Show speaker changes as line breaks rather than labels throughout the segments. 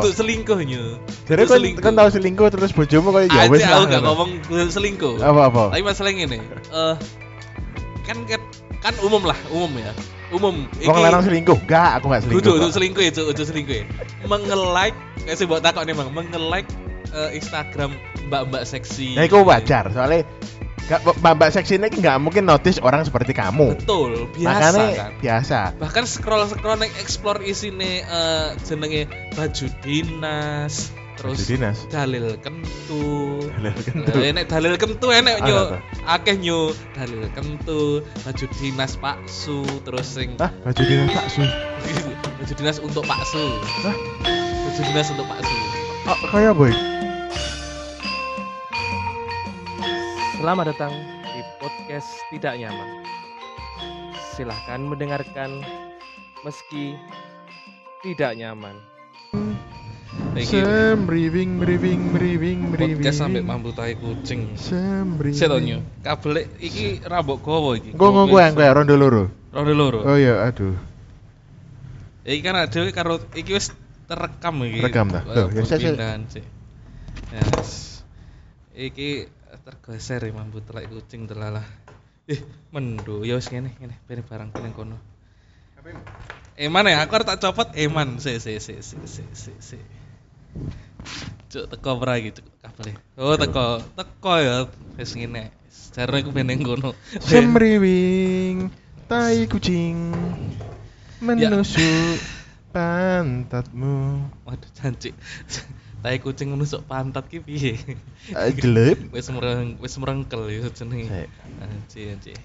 untuk selingkuhnya
Jadi
Untuk
kan
selingkuh.
kan tau selingkuh terus bojomu kayak ya wis
Aja aku
lah,
gak
ngono.
ngomong untuk selingkuh
Apa apa?
tapi masalah ini eh kan kan- kan umum lah umum ya umum
Wong lanang selingkuh? Enggak, aku gak selingkuh.
Kudu untuk
kok.
selingkuh ya, Cuk. Untuk selingkuh ya. Menge-like, kayak sih buat takok nih, Bang. Menge-like eh, Instagram mbak-mbak seksi.
Nah, itu wajar soalnya gak, mbak seksi ini nggak mungkin notice orang seperti kamu.
Betul, biasa
Makanya ya.
kan.
biasa.
Bahkan scroll-scroll nek explore isine eh, jenenge baju dinas, terus
Baju dinas?
dalil kentu.
Dalil kentu.
Eh, nek dalil kentu enek
Ana
nyu.
ta?
Akeh nyu dalil kentu, baju dinas paksu, terus sing
Hah, baju dinas tak su.
baju dinas untuk paksu.
Hah?
Baju dinas untuk paksu.
Oh, kayak boy.
Selamat datang di podcast tidak nyaman. Silahkan mendengarkan meski tidak nyaman.
Thank you.
Sem breathing breathing breathing breathing.
podcast sampai mampu tai kucing.
Sem breathing.
Saya tanya, kabel iki rambok kowo iki.
Gue gue yang gue rondo loro.
Rondo loro.
Oh iya, aduh.
Iki kan ada karo iki wis terekam iki.
Rekam dah.
Eh,
Tuh, ya, saya- saya-
perpindahan, sih. Yes. Iki tergeser ya mampu telak kucing telalah. Eh, mendo ya wis ngene ngene ben barang kene kono. Eman ya, aku harus tak copot Eman. Si si si si si si si. Cuk teko ora iki cuk kabel. Oh teko, teko ya wis ngene. Jarone iku ben ning kono.
Sem breathing. Tai kucing menusuk pantatmu.
Waduh janji. Tai kucing nusuk pantat ki piye?
Eh, Jelek.
wis mereng wis merengkel ya jenenge.
Sik.
Anjir anjir.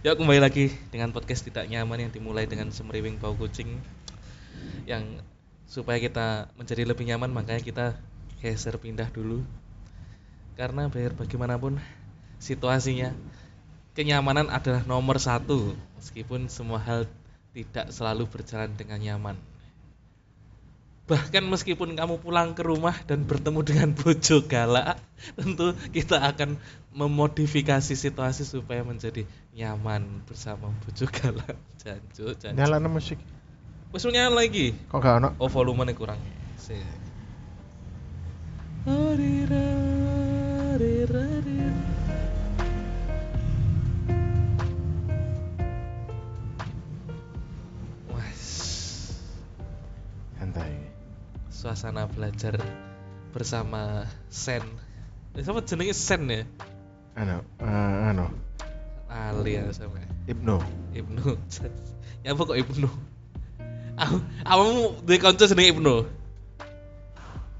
Ya kembali lagi dengan podcast tidak nyaman yang dimulai dengan semeriwing bau kucing yang supaya kita menjadi lebih nyaman makanya kita geser pindah dulu karena biar bagaimanapun situasinya kenyamanan adalah nomor satu meskipun semua hal tidak selalu berjalan dengan nyaman bahkan meskipun kamu pulang ke rumah dan bertemu dengan bojo galak tentu kita akan memodifikasi situasi supaya menjadi nyaman bersama bojo galak jancu jancu
Nyalana musik.
wis nyala lagi
Kok gak ono?
Oh volumenya kurang. Si. Wah,
Santai.
suasana belajar bersama Sen. Eh, Siapa jenenge Sen ya?
Ano, eh, ano.
Ali ya sama
Ibnu.
Ibnu. ya apa kok Ibnu? Aku, kamu duwe kanca jenenge Ibnu.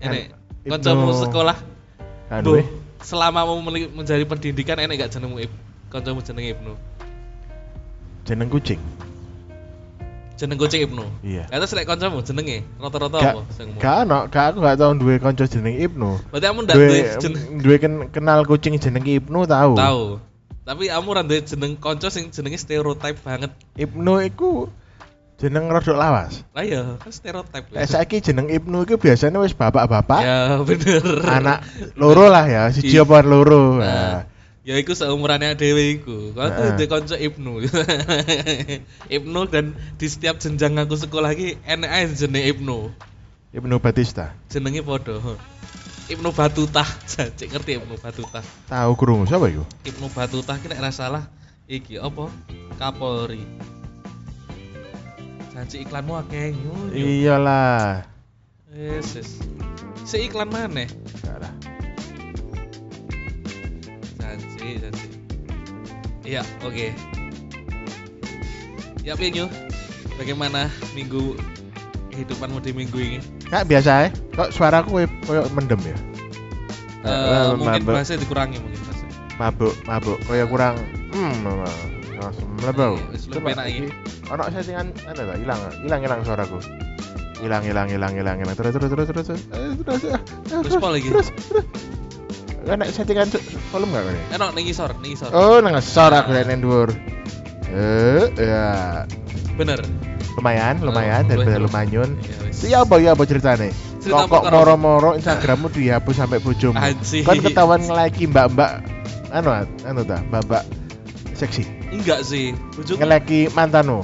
Enek.
Ibnu.
Kancamu sekolah
Aduh.
Duh, selama mau meli- mencari pendidikan enak gak jenengmu Ib? Kancamu jenenge Ibnu.
Jeneng kucing.
Jeneng kucing Ibnu.
Iya.
Lah terus lek kancamu jenenge rata-rata
Gak,
apa sing
gak ono, gak aku gak tau duwe kanca jeneng Ibnu.
Berarti kamu ndak duwe
Duwe
jeneng
duwe ken- kenal kucing jeneng Ibnu tahu.
tahu. Tapi kamu ora duwe jeneng kanca sing jenenge stereotip banget.
Ibnu iku jeneng rodok lawas.
Lah ya, kan stereotip.
Lek saiki jeneng Ibnu iku biasanya wis bapak-bapak,
Ya bener.
anak loro lah ya, siji
Iya.
apa loro.
Nah,
Nah,
ya iku seumurannya dhewe iku. Kalau aku
Nah.
duwe kanca Ibnu. Ibnu dan di setiap jenjang aku sekolah iki enek ae jenenge Ibnu.
Ibnu ya Batista.
jenenge padha. Ibnu Batutah, cek ngerti ya Ibnu Batutah.
Tahu krungu sapa iku?
Ibnu Batutah ki nek ora salah iki apa? Kapolri. Janji iklanmu akeh nyu. nyu.
Iya. Iyalah.
Yes, yes. Si iklan maneh?
Enggak lah.
Janji, janji. Iya, oke. Ya, piye nyu? Bagaimana minggu kehidupanmu di minggu ini?
Kak biasa ya. Kok suaraku koyo- koyo mendem ya?
Eh,
Eh,
mungkin
mabuk. Eh,
bahasa dikurangi mungkin bahasa.
mabuk mabuk kaya kurang hmm langsung melebu
Iya, wis lebih enak iki.
ono settingan ada tak hilang hilang hilang suaraku hilang hilang hilang hilang hilang terus terus terus terus terus eh, terus eh,
Terus apa lagi?
terus terus enak settingan su- volume gak kene
Enak ning isor, ning isor.
oh nang ngesor aku lihat nang dhuwur eh ya
Bener.
lumayan lumayan
Oh,
daripada
boleh.
lumanyun
Iya, wis.
Iya apa iya apa ceritane?
Cerita
Kok
apa,
kok
Karo?
moro-moro Instagrammu dihapus sampai bojomu.
Anjir.
Kan ketahuan nge-like mbak-mbak anu anu ta, mbak-mbak seksi.
Enggak sih. Bojoku
Nge-like mantanmu.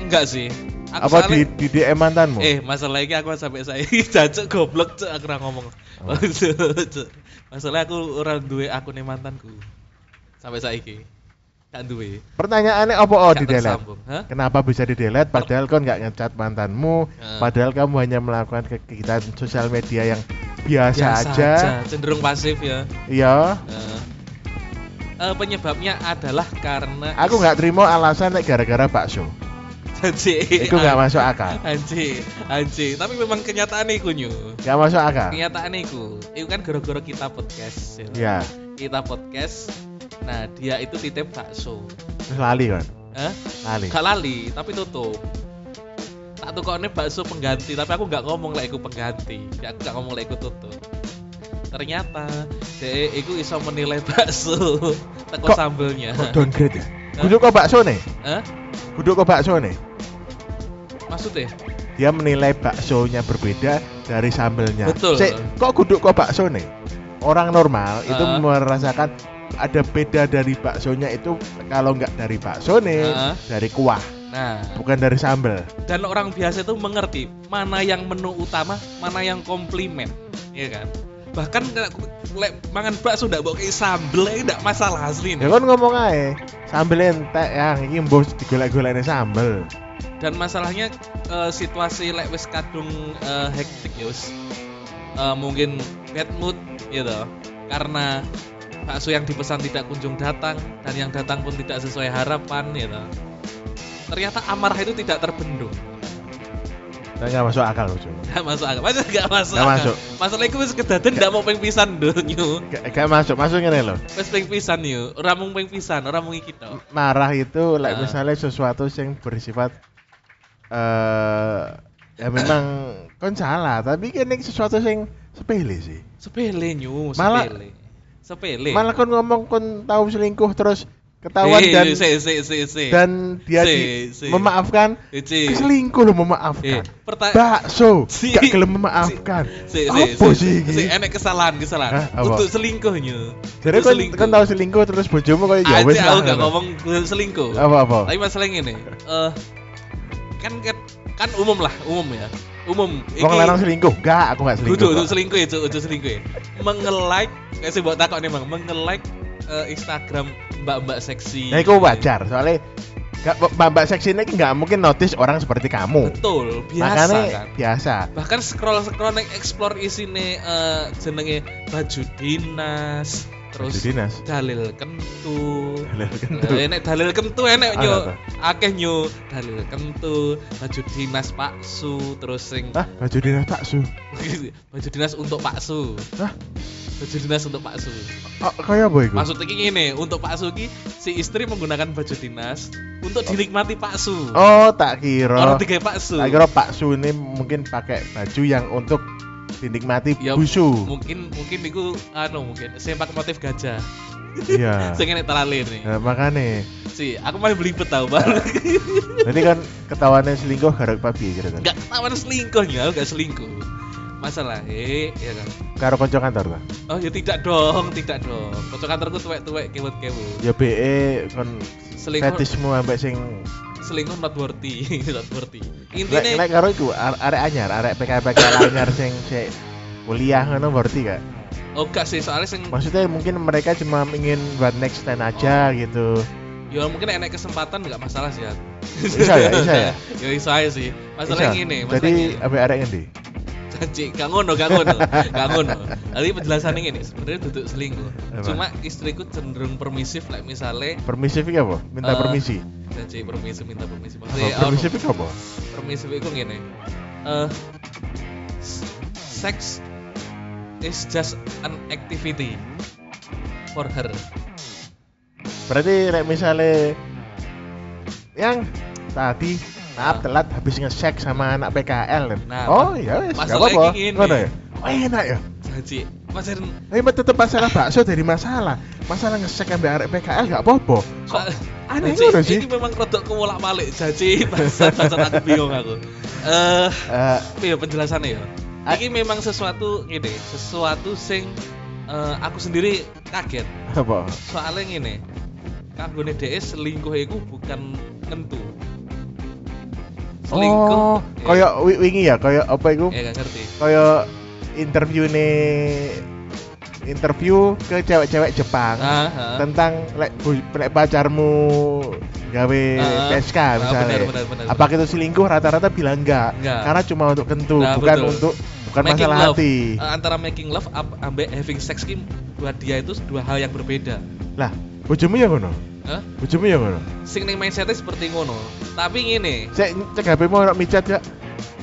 enggak sih. Aku
Apa di
soalnya-
di DM mantanmu?
Eh, masalah ini aku sampai saya jancuk goblok cuk aku ora ngomong.
Oh.
Cuk. masalah aku ora duwe akune mantanku. Sampai saiki. Tak duwe.
Pertanyaannya apa oh di
Gak
delete?
tersambung. Hah?
Kenapa bisa di delete padahal kau nggak ngecat mantanmu,
Heeh.
padahal kamu hanya melakukan kegiatan sosial media yang biasa, aja.
cenderung pasif ya.
Iya.
Heeh. Eh, penyebabnya adalah karena
Aku nggak terima alasan nek gara-gara bakso.
Anjir.
Itu nggak masuk
eh.
akal.
Anjir, anjir. Tapi memang kenyataan iku nyu.
Nggak masuk akal.
Kenyataan iku. Iku kan gara-gara kita podcast. ya.
Ya,
Kita podcast. Nah, dia itu titip bakso.
terus lali kan.
Hah?
Lali.
Gak lali, tapi tutup. Tak tukokne bakso pengganti, tapi aku nggak ngomong lah iku pengganti. Ya aku nggak ngomong lah iku tutup. Ternyata deh iku iso menilai bakso teko
Kok-
sambelnya. Eh?
Kok downgrade ya? Guduk kok bakso nih?
Hah?
Guduk kok bakso nih?
Maksudnya?
Dia menilai baksonya berbeda dari sambelnya.
Betul.
Cek, kok guduk kok bakso nih? Orang normal itu
Heeh.
merasakan ada beda dari baksonya itu kalau nggak dari bakso nih,
Heeh.
dari kuah,
Nah,
bukan dari sambel.
dan orang biasa itu mengerti mana yang menu utama, mana yang komplimen, ya kan? Bahkan kalau aku- lek mangan bakso ndak mbok kei sambel iki ndak masalah asli
Ya kan ngomong aja, sambel entek yang ini mbok digolek-golekne sambel.
dan masalahnya eh, situasi lek wis kadung eh, hektik ya wis eh, mungkin bad mood gitu karena bakso yang dipesan tidak kunjung datang dan yang datang pun tidak sesuai harapan gitu ternyata amarah itu tidak terbendung
Nah, nggak masuk akal loh, Jum.
nggak masuk akal masa nggak masuk
Nggak
akal?
masuk.
masalah itu wis kedaden nggak mau ping pisan dunyu
Nggak nggak masuk, masuk ngene loh.
wis ping pisan yuk ora mung ping pisan ora mung iki tok
marah itu like
Ah.
misalnya sesuatu yang bersifat eh ya memang kan salah tapi kan ini sesuatu yang sepele sih
sepele nyu
Malah-
sepele sepele
malah kon ngomong kon tahu selingkuh terus ketahuan
Eh,
dan
se, se, se, se.
dan dia
Si,
di-
si.
memaafkan
Eh, si.
selingkuh lo
Eh,
memaafkan
perta-
bakso
Si.
gak gelem memaafkan
Si, si,
apa
si,
sih
si,
ini?
enek kesalahan, kesalahan.
Hah, apa?
Untuk selingkuhnya.
jadi kon
Untuk
kon tahu selingkuh terus bojomu kayak ya
Aja
wes
aku
lah,
gak
ngono.
ngomong selingkuh.
apa apa
Tapi masalahnya ini, eh kan, kan kan umum lah, umum ya. Umum.
Wong lanang selingkuh? Enggak, aku enggak selingkuh.
Kudu untuk
kok.
selingkuh ya, Cuk, untuk selingkuh ya. Menge-like, kayak sih buat takok nih, Bang. Menge-like eh, Instagram mbak-mbak seksi.
Nah, itu wajar. Soalnya gak, mbak seksi ini nggak mungkin notice orang seperti kamu.
Betul, biasa
Makanya
kan.
biasa.
bahkan scroll scroll nek explore isine eh, jenenge baju dinas
Baju
terus
dinas?
dalil kentu
Dalil kentu.
Eh, enek dalil kentu enek
Apa
nyu
tuh?
akeh nyu dalil kentu baju dinas paksu terus sing
Hah, baju dinas taksu.
baju dinas untuk paksu
Hah,
baju dinas untuk paksu
kok kaya apa iku?
maksud iki ngene untuk paksu iki si istri menggunakan baju dinas untuk dinikmati paksu
Oh, tak kira.
orang tiga paksu
Tak kira Pak Su ini mungkin pakai baju yang untuk dinikmati
Ya,
busu.
mungkin mungkin iku anu mungkin sempak motif gajah
Iya.
sing enek telalir nih
Nah, makanya
Si, aku malah belibet tau bang
Jadi kan ketahuannya selingkuh gara papi kira kan.
Gak ketahuan selingkuhnya, aku gak selingkuh Masalah, eh, ya kan
Karo kanca kantor kan.
Oh ya tidak dong, tidak dong Kocok kantorku tuwek-tuwek, kewet-kewet
Ya BE kon
Selingkuh,
fetishmu ambek sing
selingkuh not worthy, not worthy
Lek
Intinya,
lek karo iku are- arek anyar, arek PKPK anyar sing sik kuliah ngono berarti gak?
oh gak sih, soalnya sing
Maksudnya mungkin mereka cuma ingin buat next stand
Oh.
aja gitu.
Ya mungkin enak kesempatan gak masalah sih aku
Bisa ya, bisa ya.
Ya bisa aja sih Masalahnya
Bisa.
gini,
Jadi
masalahnya gini
apa arek ngendi?
Janji, gak ngono, gak ngono, gak ngono. Tadi penjelasan ini sebenarnya duduk selingkuh.
Apa?
Cuma istriku cenderung permisif, like misalnya
Permisif iki apa? Minta
Eh,
permisi.
janji permisi minta permisi
Apa
maksudnya permisi
permisif iki apa?
permisi itu gini eh s- sex is just an activity for her
Berarti lek misale yang tadi maaf telat habis nge-check sama anak PKL.
Nah,
oh ya wis, gak
masalahnya
apa-apa.
gini.
Ngono ya. Oh, enak ya.
janji masih
Tapi tetep masalah bakso dari masalah. Masalah nge-check ambek arek PKL gak apa-apa. Kok aneh
Janji,
ngono sih?
ini memang rodok kewolak balik janji bahasa bahasa aku bingung aku eh
Eh,
apa ya penjelasannya ya
Ah.
ini memang sesuatu gini sesuatu sing eh, aku sendiri kaget
apa?
soalnya gini kanggone dhek selingkuh iku bukan nentu selingkuh.
Oh,
Ya.
kayak wi- wingi ya, kayak apa itu?
ya gak ngerti
Kayak interview nih interview ke cewek-cewek Jepang
Ah, ah.
tentang lek bu- lek pacarmu gawe
Ah,
PSK
ah,
misalnya.
benar, benar, benar,
Apa itu selingkuh rata-rata bilang enggak,
Enggak.
karena cuma untuk kentu,
Nah,
bukan
betul.
untuk bukan
Making
masalah
love.
hati.
Eh, antara making love ab- ambek having sex kim buat dia itu dua hal yang berbeda
Lah, bojomu ya ngono.
Hah?
Bojomu ya ngono.
sing ning mindsetnya seperti ngono tapi ngene
Cek cek HP-mu ono micat ya.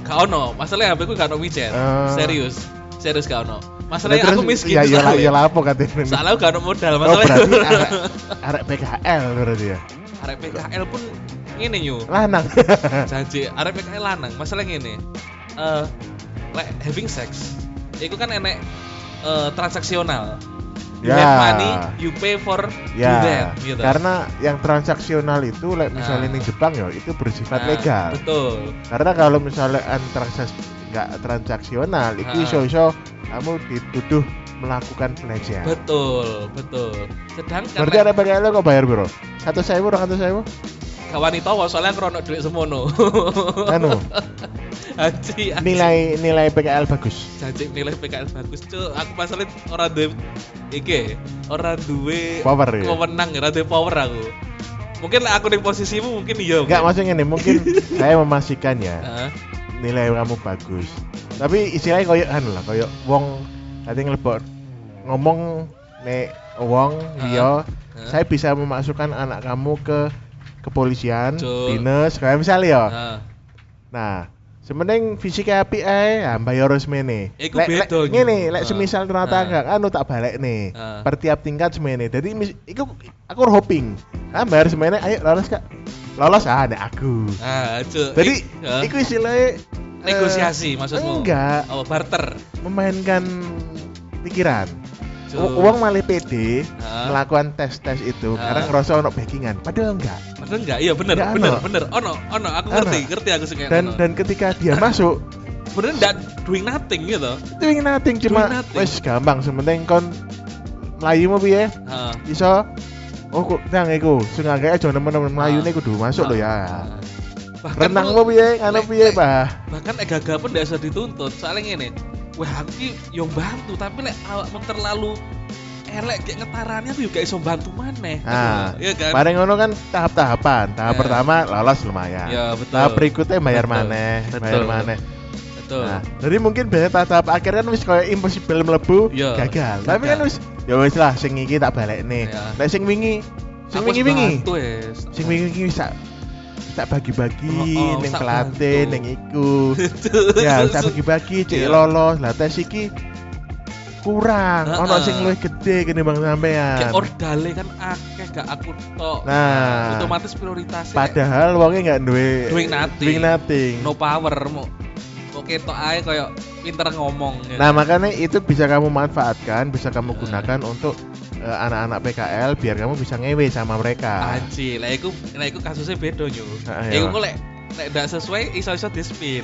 gak ono masalahnya HP ku gak ono widget
Ah.
serius serius gak ono masalahnya aku miskin
Ya ya lah
soalnya.
ya lah apa katene.
soalnya aku gak ono modal
Oh, berarti
masalahnya
arek arek PKL berarti ya.
arek PKL pun ngene yo
Lanang. Eh.
janji arek PKL lanang masalahnya ngene eh lek having sex itu kan enek eh, transaksional you
Ya.
have money you pay for do that
ya,
gitu
karena yang transaksional itu like misalnya
Nah.
di Jepang ya itu bersifat
Nah,
legal.
betul
Karena kalau misalnya antraksas nggak transaksional, itu
Ah.
iso-iso kamu dituduh melakukan pelecehan.
betul betul sedangkan
Berarti ada pakai lo kok bayar bro? Satu saya bro, satu saya
kawan itu soalnya aku ono duit semono
Anu,
Anji, anji.
nilai nilai PKL bagus.
Jajik nilai PKL bagus cuk. Aku masalahnya orang duwe iki, orang duwe
Power ya?
Wewenang, ora duwe power aku. Mungkin lah aku di posisimu mungkin iya.
Enggak
mungkin.
maksudnya nih, mungkin saya memastikan ya
Heeh.
nilai kamu bagus. Tapi istilahnya koyo anu lah, koyo wong tadi ngelebok ngomong nek wong liya
Heeh.
saya bisa memasukkan anak kamu ke kepolisian,
Cuk.
dinas, kayak misalnya ya.
Heeh.
Nah, semending fisiknya api ae, ah, mbayar semene.
Iku
Lek- lek
beda, Ju.
ngene, lek
Ah.
semisal ternyata
Ah.
enggak anu tak balik nih.
Ah.
Per tiap tingkat semene. Jadi mis- iku aku hoping. Ah, mbayar semene, ayo lolos Kak. Lolos ah nek aku.
Ah, cuk.
Jadi
Ik- heeh.
iku istilahnya eh,
negosiasi maksudmu?
Enggak,
Oh, barter.
memainkan pikiran.
Cuk.
U- Uang malah pede
Ah.
melakukan tes-tes itu
Ah.
karena ngerasa ono backingan, padahal enggak.
Padahal enggak, iya bener,
Enggak,
bener,
ono.
bener. Ono, ono, aku
Ono.
ngerti, ngerti aku sing
Dan dan ketika dia masuk,
bener enggak doing nothing gitu.
itu ingin nating cuma
Doing nothing.
wes gampang sementing kon melayu mau piye
Heeh.
iso oh kok nang iku sing akeh aja nemen-nemen melayu
Ah.
niku kudu masuk lho ya.
Heeh. Bahkan
Renang
tuh-
mau piye, anu
lek-
piye,
lek-
Pak.
bahkan lek gagal pun tidak usah dituntut soalnya ngene wah aku ki yo bantu tapi lek awakmu terlalu elek kayak ngetarannya aku juga iso bantu maneh
Ah,
ya kan
Bareng ngono kan tahap-tahapan. Tahap
Ya.
pertama lolos lumayan.
Ya, betul.
Tahap berikutnya bayar
Betul.
maneh,
Betul.
bayar maneh.
betul
Nah, jadi mungkin biasanya tahap-tahap akhir kan wis koyo impossible mlebu
Ya,
gagal. Tapi
gagal.
kan wis ya wis lah sing iki tak balekne.
Ya.
Nek sing wingi sing
Aku wis
wingi-wingi
bantu, wes.
sing wingi iki bisa bisa bagi-bagi
Oh, oh,
ning
tak
Klaten
bantu.
ning iku. ya, bisa bagi-bagi cek
Iya.
lolos. Lah tes iki kurang,
Heeh.
ono sing luwih gede kene Bang
kayak
sampean.
ordale kan akeh gak aku tok
Nah.
otomatis prioritasnya
Padahal wonge nggak duwe
Doing nothing.
doing nothing.
no power mau kok ketok ae koyo pinter ngomong ya.
Nah, makanya itu bisa kamu manfaatkan, bisa kamu
Heeh.
gunakan untuk eh, anak-anak PKL biar kamu bisa ngewe sama mereka.
Anji, lah iku lah iku kasusnya beda yo.
Ah, iya.
Iku kok lek lek ndak sesuai iso-iso di-spill.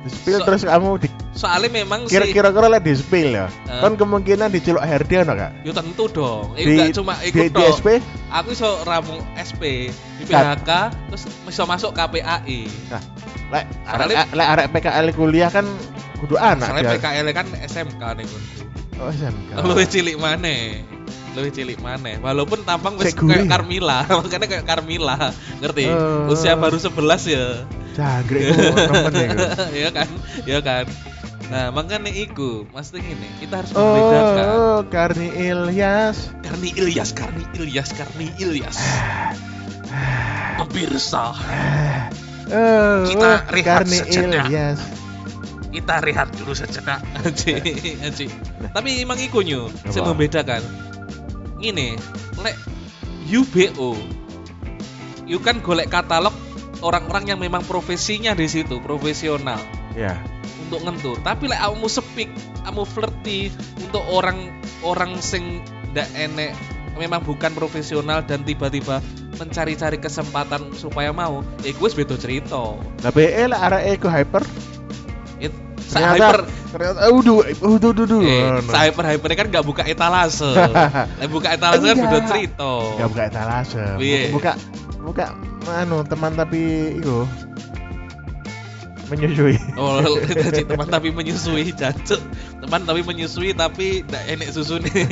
Di-spill
So-
terus kamu di
Soalnya memang si-
kira-kira lek di-spill ya.
Heeh.
Kan kemungkinan diceluk HRD ono gak?
Ya tentu dong. Iku
Di-
gak cuma
di,
ikut
di
tok.
SP?
Aku iso ramu SP, di
Kat.
PHK, terus iso masuk KPAI.
Nah, lek
Soalnya-
arek lek arek PKL kuliah kan kudu anak
Soalnya
biar-
PKL kan SMK nih pun.
Oh, SMK.
Luwih cilik maneh. Luwih cilik maneh. Walaupun tampang wis
Cek ya? gurih.
kayak Carmila, makanya kayak Carmila. Ngerti?
Eh.
Usia baru 11 ya.
Jangkrik oh, iku nemen iku.
ya kan? Ya kan? Nah, makanya iku, maksudnya gini, kita harus membedakan.
Oh, Karni Ilyas.
Karni Ilyas, Karni Ilyas, Karni Ilyas. Pemirsa,
Oh,
Kita
oh,
rehat
Karni
sejenak.
Ilyas.
kita rehat dulu sejenak.
Anji, anji. Tapi emang iku nyu, sing
Apa?
membedakan. Ngene, lek UBO. You kan golek katalog orang-orang yang memang profesinya di situ, profesional
Ya.
untuk ngentur. Tapi lek kamu sepik, kamu flirty untuk orang-orang sing ndak enek memang bukan profesional dan tiba-tiba mencari-cari kesempatan supaya mau, ya gue beda cerita.
Lah BE lek arek iku E hyper.
It,
Ternyata
sa-
Hmm,
hyper
ternyata uh, udu udu udu udu.
Eh, hyper hypernya kan nggak buka etalase. Lah buka etalase kan
Iya.
udah cerita.
Enggak buka etalase.
Piye?
Buka buka anu teman tapi iku menyusui.
Oh, cik teman tapi menyusui, jancuk. Teman tapi menyusui tapi ndak enek susu nih.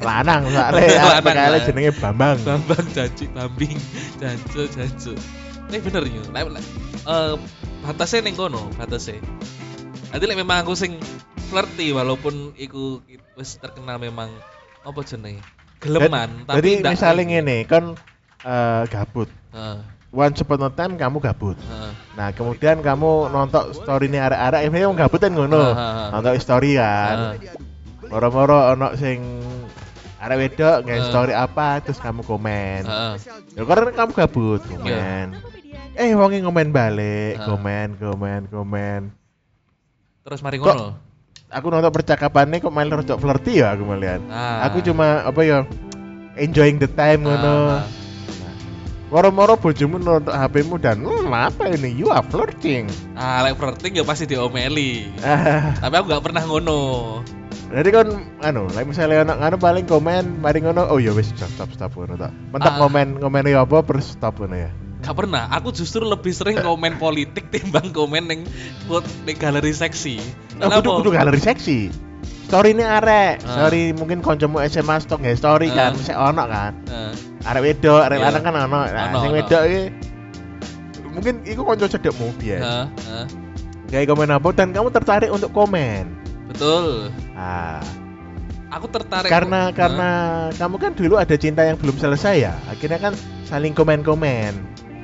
Lanang soalnya
Lanang,
PKL
lah.
jenenge Bambang.
Bambang, jancuk, bambing, jancuk, jancuk. Eh bener yo. Lek lek, eh batasnya ning kono, batasnya. Nanti lek memang aku sing flirty walaupun iku wis terkenal memang apa jenenge?
Jadi
Geleman, tapi ndak- gitu.
misalnya ngene, kon eh, gabut.
Heeh,
Once upon a time kamu gabut.
heeh.
Nah, kemudian kamu nonton story ini arek-arek, emangnya kamu gabut kan ngono.
Ah, ah, ah.
Nonton story kan. Moro-moro ono sing arek wedok nge
Ah.
story apa terus kamu komen.
Heeh. Iya.
Ya karena kamu gabut, komen. Eh, wonge ngomen balik,
Ah.
komen, komen, komen.
Terus mari
Kok-
ngono.
Aku nonton percakapannya kok malah rojok flirty ya aku melihat.
Ah.
Aku cuma apa ya enjoying the time ngono.
Ah,
Moro-moro bojomu nonton HP-mu dan hmm, apa ini? You are flirting.
Ah, lek flirting ya pasti diomeli.
Ah.
Tapi aku gak pernah ngono.
Jadi kan anu, like misalnya ono anu paling komen, mari ngono, oh ya wis stop stop stop ngono tak. Mentek
Ah.
komen komen ya apa terus stop ngono ya.
Gak pernah. Aku justru lebih sering komen politik timbang komen neng buat neng galeri seksi.
Oh, kudu kudu galeri seksi. Story ini arek,
Ah.
story mungkin koncomu SMA stok ya story kan,
Ah.
saya ono kan.
Eh,
Arek wedok, arek
Iya.
lanang kan ono. Nah,
Ono,
sing
ono.
wedok iki mungkin iku konco cedekmu biyen.
eh, eh.
Kayak komen apa dan kamu tertarik untuk komen.
Betul.
Ah,
Aku tertarik
karena karena kamu kan dulu ada cinta yang belum selesai ya. Akhirnya kan saling komen-komen.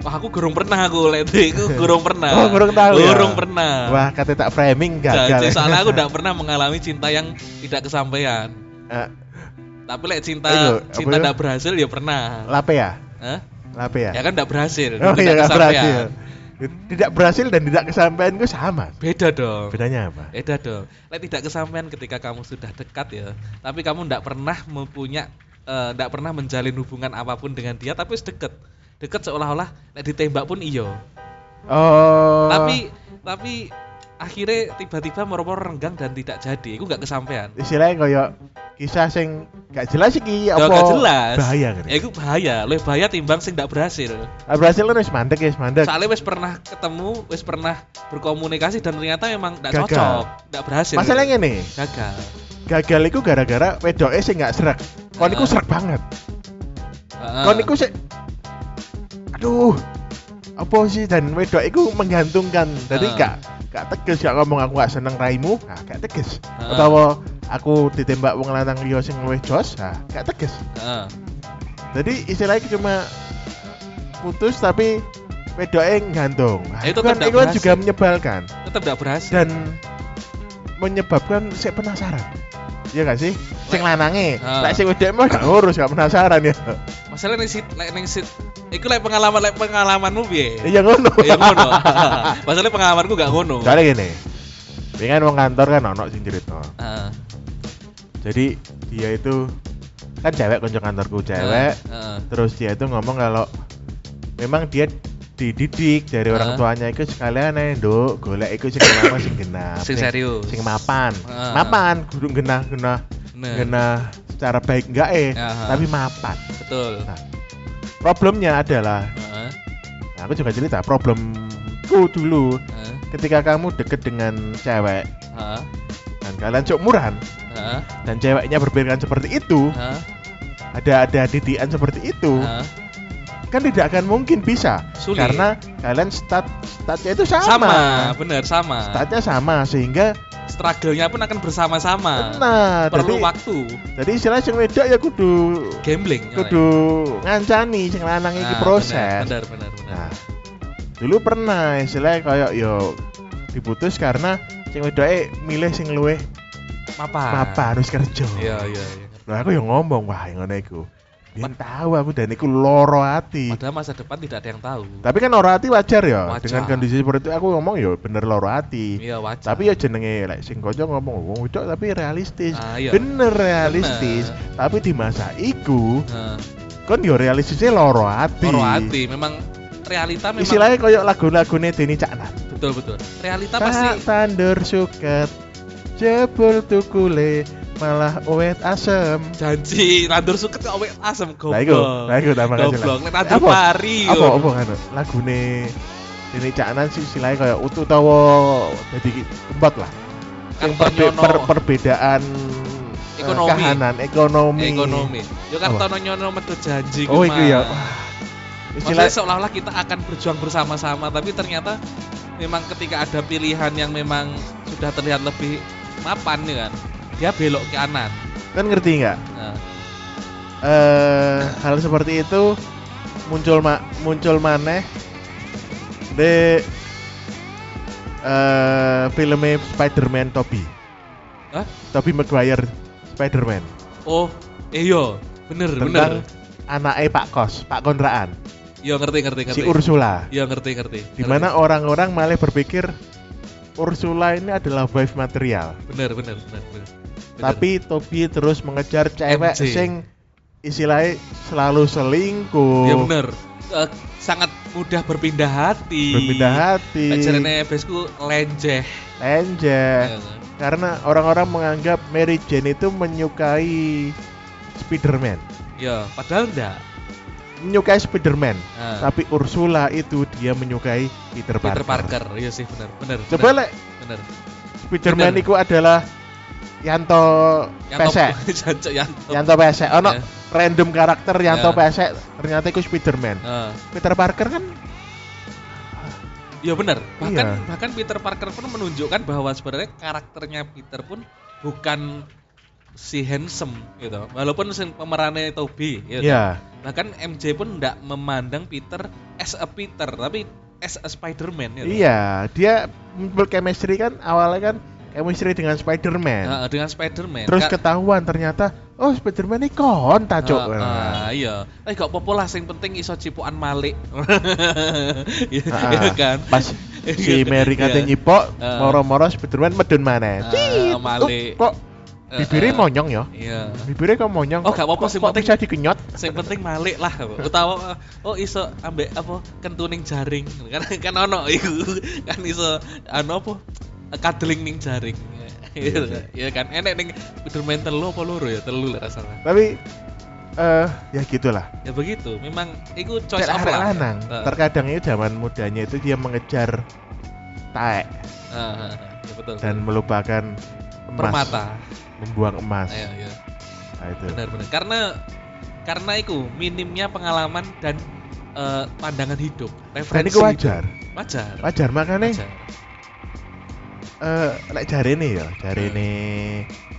Eh, Wah, aku gurung pernah aku lek itu. Aku gurung pernah.
Oh, gurung tahu ya?
Gurung pernah.
Wah, kata tak framing
Jadi
gagal. ya.
soalnya aku gak pernah mengalami cinta yang tidak kesampaian.
Eh,
Tapi lek cinta
Ayo, apa
cinta
ya?
tidak berhasil ya pernah.
lape ya?
Hah?
Lape ya?
Ya kan tidak berhasil.
oh iya,
tidak
nggak
kesampaian.
berhasil. Tidak berhasil dan tidak kesampaian itu sama.
Beda dong.
Bedanya apa?
Beda dong. Lek tidak kesampaian ketika kamu sudah dekat ya, tapi kamu tidak pernah mempunyai eh, ndak pernah menjalin hubungan apapun dengan dia tapi wis deket. Deket seolah-olah lek ditembak pun iyo.
Oh.
Tapi tapi akhirnya tiba-tiba moro-moro renggang dan tidak jadi. Iku nggak kesampaian.
istilahnya kayak kisah sing gak jelas iki Iya,
Ya
apa?
gak jelas.
Bahaya
Ya
gitu.
iku bahaya, lebih bahaya timbang sing ndak berhasil.
berhasil kan wis mandek ya, wis mandek.
Soalnya wis pernah ketemu, wis pernah berkomunikasi dan ternyata memang ndak
Gagal.
cocok, ndak berhasil.
Masalahnya nih,
gagal.
gagal iku gara-gara wedoke sing gak srek. Kon iku
Ah.
srek banget.
Heeh.
Kon iku sik Aduh. Apa sih dan wedok iku menggantungkan. Jadi
Ah.
gak gak tegas gak ngomong aku gak seneng raimu. Nah, gak tegas.
Ah.
Utawa aku ditembak wong lanang liya sing luwih jos. Nah, gak tegas.
Heeh.
Jadi istilahnya cuma putus tapi wedoke nggantung. Nah,
Itu
itu kan
tetap
itu kan
berhasil.
juga menyebalkan
Tetap ndak berhasil.
dan menyebabkan saya penasaran. Iya gak sih? Sing lanange,
Ah.
lek sing wedok mah gak ngurus, gak penasaran ya.
Masalah ning sit, lek ning sit, iku lek pengalaman lek pengalamanmu piye?
Iya ngono.
Ya ngono. Masalah pengalamanku gak ngono.
Soalnya gini, pengen wong kantor kan ono sing cerita.
Heeh.
Jadi dia itu kan cewek konco kantorku cewek,
Heeh.
terus dia itu ngomong kalau memang dia dididik dari orang
Heeh.
tuanya itu sekalian ae nduk golek iku sing lama sing genap
Sing serius.
sing mapan
Heeh.
mapan guru genah genah
Bener.
genah secara baik enggak eh
Heeh.
tapi mapan
Betul. Ah,
nah, problemnya adalah
Heeh.
nah, aku juga cerita problemku dulu
Heeh.
ketika kamu deket dengan cewek
Heeh.
dan kalian cuk murahan
Heeh.
dan ceweknya berpikiran seperti itu
Heeh.
ada ada didikan seperti itu
Heeh.
kan tidak akan mungkin bisa
Sulit.
karena kalian stat statnya itu sama,
Sama, bener sama.
statnya sama sehingga
Struggle-nya pun akan bersama-sama.
nah
Perlu
jadi
waktu. Iya,
jadi istilahnya sing wedok ya kudu
Gambling. ya.
kudu ngancani sing lanang
Nah,
iki proses
Bener, bener, bener.
nah dulu pernah istilahnya kayak yo diputus karena sing wedoke milih sing luwih Nah,
Mapan.
apa harus kerja
Ah. Iya, iya, iya.
Lah aku yang ngomong wah yang ngono iku Biyen tahu aku dan iku loro ati
Padahal masa depan tidak ada yang tahu.
tapi kan loro ati wajar ya
Wajar.
dengan kondisi seperti itu aku ngomong yo bener loro ati
Iya, wajar.
tapi ya jenenge lek sing kanca ngomong wong wedok tapi realistis
Ah, iya.
bener realistis
Bener.
tapi di masa iku
Heeh.
kan yo realistisnya loro ati
Ah, Loro hati memang realita Kan memang
istilahnya koyo lagu-lagune Deni Caknan
betul betul realita
tak
pasti
tandur suket jebul tukule malah uwet asem
janji nandur suket kok awet asem
Lah
goblok
Nah, iku, lah iku tambah
goblok
kasihan.
nandur
Apa?
pari yo.
apa apa kan lagune dene cakanan sih istilahnya kayak utuh utawa dadi tempat lah. Sing
Kan
perbe-
nyono.
per- perbedaan eh,
Ekonomi.
kahanan, ekonomi.
ekonomi. Yo
Apa?
Kartono nyono metu janji
Oh,
Mas.
iku ya. Istilah
Maksudnya seolah-olah kita akan berjuang bersama-sama, tapi ternyata memang ketika ada pilihan yang memang sudah terlihat lebih mapan ya kan, dia belok ke kanan.
kan ngerti nggak?
Nah,
eh hal seperti itu muncul ma muncul maneh di eh filmnya Spider-Man Toby.
Hah?
Toby Maguire Spider-Man
oh, eh yo, bener bener.
tentang anaknya Pak Kos, Pak Kontraan,
Yo ngerti ngerti ngerti.
si Ursula.
Yo ngerti ngerti.
Di mana orang-orang malah berpikir Ursula ini adalah wife material,
Ngerti. Bener bener bener. bener. Bener.
tapi Toby terus mengejar cewek
MC.
sing istilahnya selalu selingkuh,
ya bener. Eh, sangat mudah berpindah hati.
berpindah hati,
Ajarannya besku lenjeh.
lenjeh.
Ya kan?
Karena orang-orang menganggap Mary Jane itu menyukai Spiderman,
Yo, Iya, padahal enggak.
menyukai Spiderman.
Nah,
Tapi Ursula itu dia menyukai Peter Parker.
Peter Parker, iya sih bener bener.
Coba
bener,
lek
bener.
Spiderman
Bener.
itu adalah Yanto Pesek.
Jancuk yang top.
Yanto Pesek. Ono
Ya.
random karakter Yanto
Ya.
Pesek ternyata itu Spiderman.
Nah,
Peter Parker kan
Iya benar. Bahkan
Iya.
bahkan Peter Parker pun menunjukkan bahwa sebenarnya karakternya Peter pun bukan si handsome gitu. Walaupun si pemerannya Toby gitu.
ya
Bahkan MJ pun tidak memandang Peter as a Peter, tapi as a Spider-Man gitu.
iya dia muncul chemistry kan awalnya kan chemistry dengan Spiderman.
Nah, dengan Spider-Man.
Terus
Ka-
ketahuan ternyata oh Spiderman ini kon ta Cuk.
Ah, ah, iya. Tapi gak apa-apa lah, yang penting iso cipukan Malik. Iya
Ah,
iya kan? Iya.
Pas si Mary katanya nyipok,
Ah.
moro-moro Spiderman medun maneh.
Ah,
Cit, Oh,
malik.
Kok bibirnya
mau
monyong ya?
Iya.
Bibirnya kok monyong?
Oh, gak apa-apa,
Kok-
sing
kok
penting-
bisa dikenyot?
Sing penting malik lah, utawa oh iso ambek apa kentuning jaring kan kan ono iku kan iso ano apa kadeling ning jaring. Iya iya kan enek ning Spiderman telu apa loro ya telu lah rasanya.
Tapi eh ya gitulah.
Ya begitu, memang iku choice
Cek
of
arek
lah.
lanang.
Heeh,
Terkadang itu zaman mudanya itu dia mengejar taek
heeh, heeh. Ya, betul.
dan melupakan emas,
permata.
membuang emas.
Iya iya.
Nah, itu.
Benar benar. Karena karena iku minimnya pengalaman dan eh, pandangan hidup,
Dan
referensi.
itu wajar.
hidup. Wajar.
Wajar makanya
wajar.
eh lek jarene ya, jarene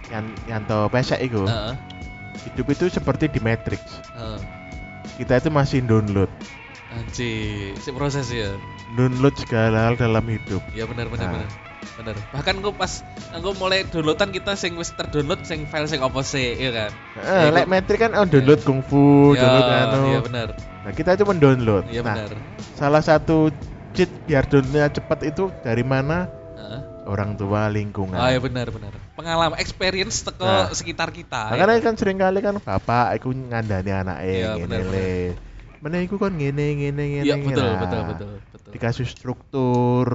yang yanto pesek iku.
Heeh,
Hidup itu seperti di Matrix.
heeh.
Kita itu masih download,
Anji, si proses ya.
download segala hal dalam hidup.
Ya benar benar
Nah.
benar. Benar. Bahkan gue pas gue mulai downloadan kita sing wis terdownload sing file sing opo sih, ya kan.
Eh,
Ya,
lek
iku-
Matrix kan oh, download kungfu,
ya,
download anu.
Iya benar.
Nah, kita itu mendownload.
Iya
nah,
benar.
salah satu cheat biar downloadnya cepat itu dari mana?
Heeh.
Orang tua, lingkungan.
Ah, ya benar benar. Pengalaman experience teko
Nah.
sekitar kita.
Makanya kan sering kali kan bapak aku ngandani anake
Iya,
ngene
bener,
le. Meneh iku kon ngene ngene ngene.
Iya
ngene.
betul,
Nah,
betul betul betul
Dikasih struktur.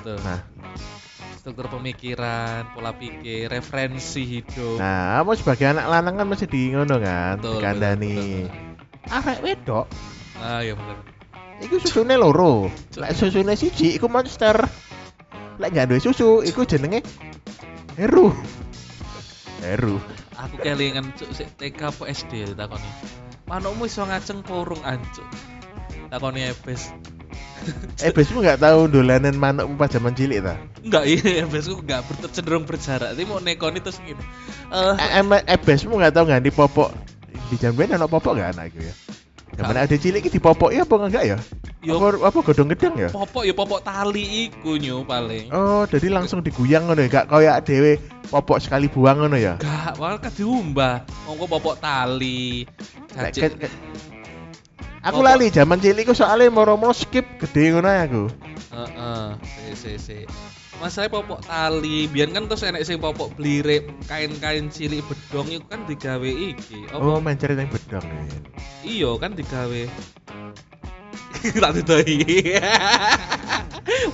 betul.
Nah,
Struktur pemikiran, pola pikir, referensi hidup.
nah kamu sebagai anak lanang kan mesti di ngono kan,
betul,
dikandani.
betul, betul.
Arek wedok
Ah, iya benar.
Iku susune loro. Lek susune siji iku monster. Lek nggak duwe susu iku jenenge Heru. Heru.
Aku kelingan cuk sik TK apa SD takoni. Manukmu iso ngajeng kurung ancuk. Takoni ebes.
Eh besmu nggak tahu dolanan manuk pas zaman cilik ta?
Enggak, iya ebesku enggak ber- cenderung berjarak. Tapi mau nekoni terus gini. Eh,
Eh, em- eh besmu nggak tahu ganti popok di jamben anak popok nggak anak iku ya? Zaman ada cilik iki dipopok ya apa enggak ya?
Yo.
Apa, apa godong gedang ya?
popok ya popok tali iku nyu paling.
Oh, jadi langsung diguyang ngono ya, gak kaya dhewe popok sekali buang ngono ya.
Enggak, malah kan diumbah. Mongko popok tali.
Lek
Cacik.
ke- ke- Aku
Popok.
lali zaman cilik iku soalnya moro-moro skip gede ngono ya aku.
Heeh, si si si. Masalahnya popok tali, biar kan terus enek sing popok blirip, kain-kain cilik bedong itu kan digawe iki.
Oh,
Apa?
main cerita yang bedong ya.
Iya kan digawe. Tak didoi.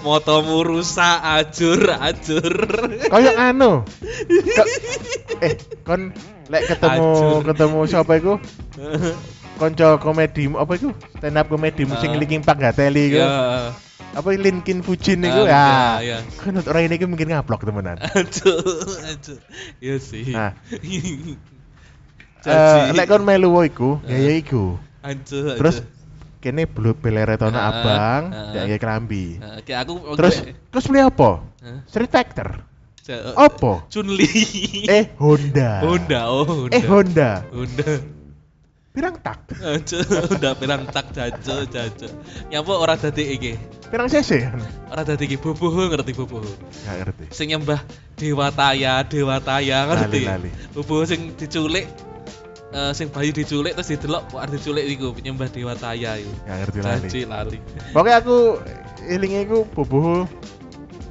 Motomu rusak ajur ajur.
Kayak anu. Ke- eh, kon lek ketemu
Ajur.
ketemu siapa iku? Konco komedi apa iku? Stand up komedi
Ah.
Iya. sing linking pang gateli iku.
Ya.
apa Linkin Fujin
Ah,
niku
mungkin,
ya.
ah, iya.
Kan orang ini mungkin ngablok temenan.
Aduh, aduh. Iya sih.
Nah. Eh,
Jadi,
nek kon melu wae iku, ya ya
Eh.
iku.
aduh, aduh.
Terus kene blue beleretona
Ah,
abang,
ah.
ya ya kelambi.
Nah, Oke, aku
Terus terus beli apa?
Hah?
Street Fighter.
Ja-
Apa?
Chunli.
Eh Honda.
Nah, Honda, oh Honda.
Eh Honda.
Honda.
Pirang tak?
Aja, Honda pirang tak jajo jajo. Nyapa ora dadi iki?
Pirang cc?
Ora dadi iki bubuh ngerti bubuh.
Gak ngerti.
Sing nyembah dewa taya, dewa taya ngerti.
Lali, lali.
Bubuh sing diculik eh, sing bayi diculik terus didelok kok arep diculik iku penyembah dewa taya iku.
Gak ngerti lali.
Janji lali.
Pokoknya aku ilingnya aku boboho.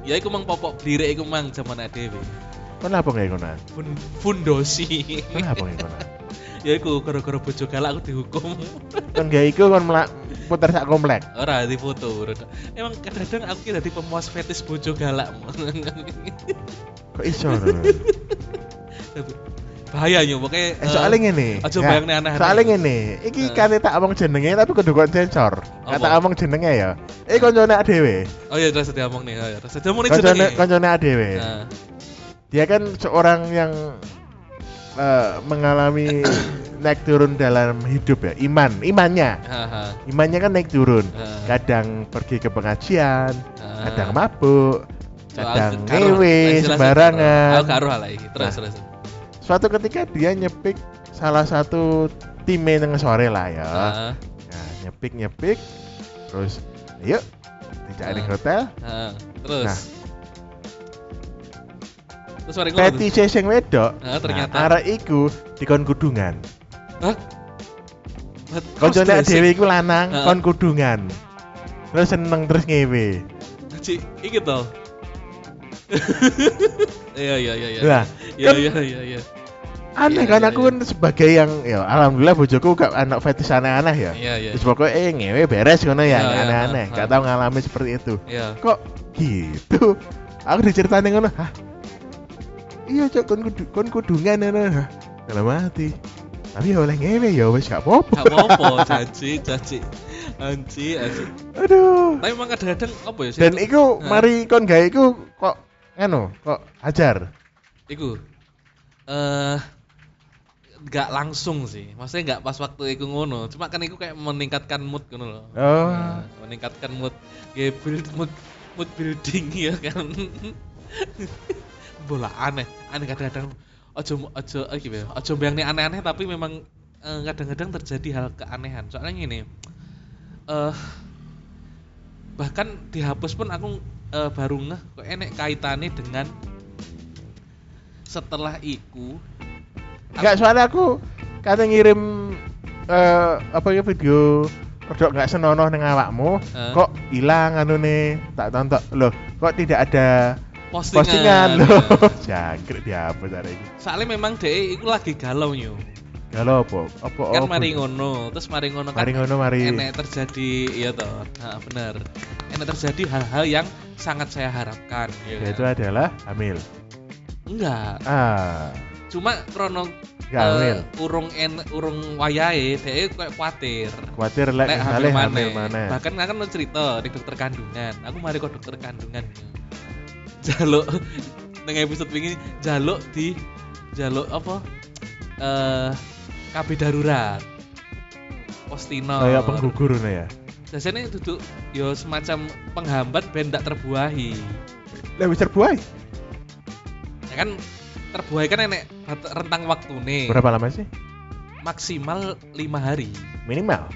Ya iku mang popok blirik iku mang jaman dhewe.
Kenapa nggak kena?
Fun fundosi.
Kenapa nggak kena?
ya iku gara-gara bojo galak aku dihukum.
Kan gak iku kan melak putar sak komplek.
Ora di foto. Bro. Emang kadang aku ki dadi pemuas fetis bojo galak.
Kok iso? no?
Bahaya yo pokoknya
Eh soalnya ngene.
Aja
ya,
bayangne aneh-aneh.
Soalnya ngene, iki
Eh.
kate tak omong jenenge tapi kudu kon sensor. Kata
Apa?
omong jenenge ya. Eh koncone dhewe.
Oh iya terus diomong nih. Oh iya terus diomong nih
Koncone
jenenge.
koncone dhewe.
Nah,
Dia kan seorang yang eh, mengalami naik turun dalam hidup ya, iman, imannya.
haha.
Imannya kan naik turun.
Eh.
Kadang pergi ke pengajian,
Eh.
kadang mabuk,
Coba
kadang
aku- karo-
ngewe
jelasin, Oh, karo. Aku
sembarangan.
karo lah iki. Terus
Nah.
terus.
Suatu ketika dia nyepik salah satu timnya yang sore lah ya.
Heeh.
Nah, nyepik nyepik, terus yuk tidak ada
Eh.
hotel.
Heeh. Terus.
Nah.
Terus mari ngono.
Peti C sing wedok.
Nah, ternyata.
Nah, arek iku dikon kudungan.
Hah?
Koncone dhewe iku lanang,
Heeh.
kon kudungan. Terus seneng terus ngewe.
Cik, iki to. Iya iya iya iya.
Lah,
Iya
kan-
iya iya iya.
Aneh
Iya,
kan
iya,
aku
iya.
kan sebagai yang ya alhamdulillah bojoku gak anak fetish aneh-aneh ya.
Iya iya.
Terus pokoknya eh ngewe beres ngono ya,
Iya, iya,
aneh-aneh.
ha,
Gak
ha.
tau ngalami seperti itu.
Iya.
Kok gitu? Aku diceritain ngono, hah? Iya cok kon kudu kon kudungan ngono. Hah, Dalam mati. Tapi ya oleh ngewe ya wis gak
Gak
apa-apa.
apa-apa, janji, janji. Anji, anji.
Aduh.
Tapi emang kadang-kadang apa ya? sih?
Dan iku
Nah,
mari kon gawe iku kok ngono, kok ajar.
iku eh nggak langsung sih. Maksudnya nggak pas waktu iku ngono. Cuma kan iku kayak meningkatkan mood ngono loh.
Oh.
Nah, meningkatkan mood, kayak build mood mood building ya kan. Bola aneh, aneh kadang-kadang ojo ojo eh, gimana ya, ojo bayangin aneh-aneh tapi memang eh, kadang-kadang terjadi hal keanehan. Soalnya gini, eh bahkan dihapus pun aku eh, baru ngeh kok enek kaitannya dengan setelah iku
Enggak soalnya aku kata ngirim eh apa ya video produk nggak senonoh neng awakmu
Eh.
kok hilang anu nih tak tonton loh kok tidak ada
postingan,
postingan loh
ya.
jangkrik dihapus hari ini
soalnya memang deh iku lagi galau nyu
kalau apa apa
kan
apa?
mari ngono terus mari ngono kan
Oh, mari ngono mari
enek terjadi iya toh nah, bener enek terjadi hal-hal yang sangat saya harapkan ya kan?
yaitu adalah hamil
enggak
ah
cuma krono
Enggak hamil.
eh, urung en urung wayahe dhek kayak kuatir
khawatir lek
Nek hamil
misalnya
mana?
hamil mana
Bahkan kan lo cerita di dokter kandungan. Aku mari kok dokter kandungan. ya. Jaluk nang episode wingi jaluk di jaluk apa? Eh KB darurat. Postino.
kayak penggugur nih ya
Biasanya duduk yo semacam penghambat ben ndak terbuahi.
lebih terbuai
Ya kan terbuahi kan enek bat- rentang waktu nih.
berapa lama sih
Maksimal lima hari.
minimal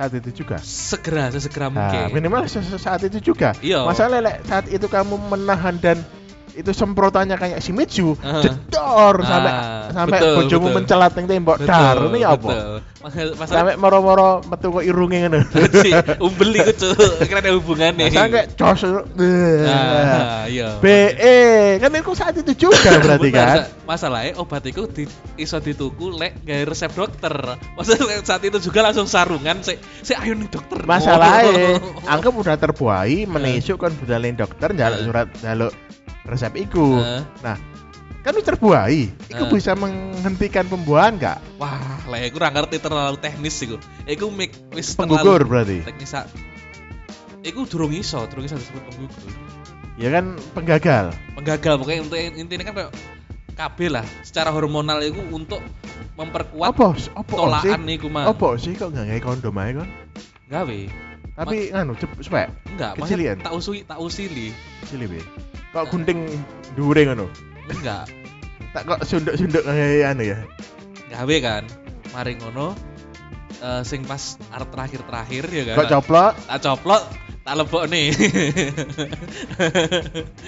saat itu juga
Segera sesegera
Nah,
mungkin.
minimal se- se- saat itu juga.
Iya.
Masalah lek saat itu kamu menahan dan itu semprotannya kayak Shimizu,
Ah.
jedor
Ah,
sampai sampai
betul,
bojomu
betul.
mencelat ning tembok dar ini ya apa?
betul. Mas- Masalah
Sampai moro-moro metu kok irunge ngono.
Cik, umbeli ku um, cuk, kira ada hubungannya.
Sampai kayak jos.
Ah, iya.
BE kan itu saat itu juga berarti kan.
Benar, Sa- Masalahnya eh, obat itu di, iso dituku lek gak resep dokter. Maksudnya saat itu juga langsung sarungan sik sik ayo nih dokter.
Masalahnya
Oh.
anggap udah terbuai, menisuk kan budalin dokter njaluk
Eh.
surat njaluk resep iku.
Eh.
Nah, kan wis terbuai, iku
Eh.
bisa menghentikan pembuahan gak?
Wah, lek aku ora ngerti terlalu teknis iku. Iku mik wis
Penggugur
terlalu
berarti.
teknis sak Iku durung iso, durung iso disebut penggugur.
Ya kan penggagal.
Penggagal pokoknya untuk intinya kan kayak KB lah, secara hormonal itu untuk memperkuat
Apa? s- Apa sih?
tolakan iku mah.
Apa sih kok nggak ngai kondom aja kan?
Gawe.
Tapi nganu cep sepek
Enggak,
Kecilian.
maksudnya tak usui, tak usili.
cilik be. Kok gunting dure ngono.
Enggak.
Tak kok sunduk-sunduk ngai anu ya.
gawe kan mari ngono eh, sing pas art terakhir-terakhir ya kan
Kok coplok
tak coplok tak lebok nih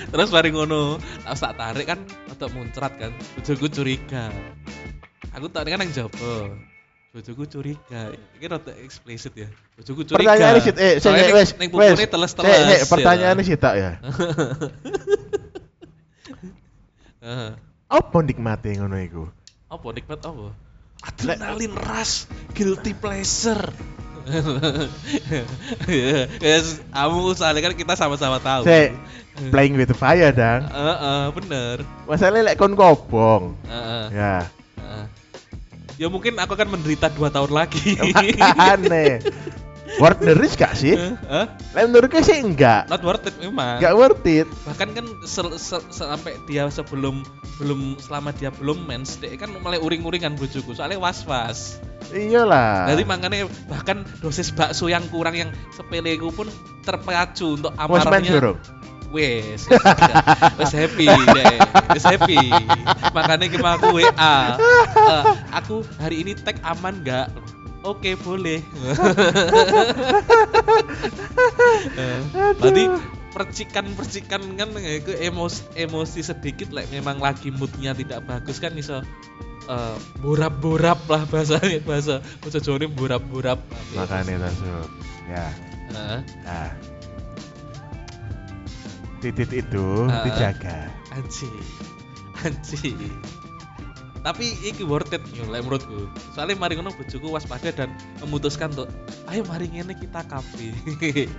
terus mari ngono tak tak tarik kan untuk muncrat kan bojoku curiga aku tak kan yang jawab bojoku curiga ini rada eksplisit ya bojoku curiga
Pertanyaannya sih eh sik,
Soalnya
sik,
ning-
wes
ning
wes.
pupune teles-teles
Sik, sik,
ya.
pertanyaannya sih tak ya.
Heeh.
Apa nikmate ngono iku?
apa nikmat apa adrenalin rush guilty pleasure ya yes, kamu soalnya kan kita sama-sama tahu
Sik. Playing with fire dang.
Heeh, bener
Masalahnya lek kon kobong.
Heeh,
Ya.
heeh. ya mungkin aku akan menderita dua tahun lagi
Aneh. Worth the risk gak sih?
Heeh,
Lek menurutku sih enggak.
not worth it memang
Enggak worth it.
bahkan kan sel- sel- sampai dia sebelum belum selama dia belum mens dia kan mulai uring-uringan bojoku soalnya was-was
Iyalah.
Jadi makanya bahkan dosis bakso yang kurang yang sepele ku pun terpacu untuk
Wes men
amarahnya.
suruh.
Wes, wes happy deh, wes happy. Makanya kemarin aku WA, Eh, aku hari ini tag aman nggak? Oke boleh. Eh, Berarti percikan-percikan kan itu emosi, emosi sedikit like memang lagi moodnya tidak bagus kan iso eh, borap-borap lah bahasanya bahasa bahasa Jawa ini borap-borap. Eh,
Makanya tak suruh. Ya.
Heeh.
Nah. Titik itu
Ah.
dijaga.
Anji. Anji. Tapi iki worth it yo lek menurutku. Soalnya mari ngono bojoku waspada dan memutuskan untuk ayo mari ngene kita kafe.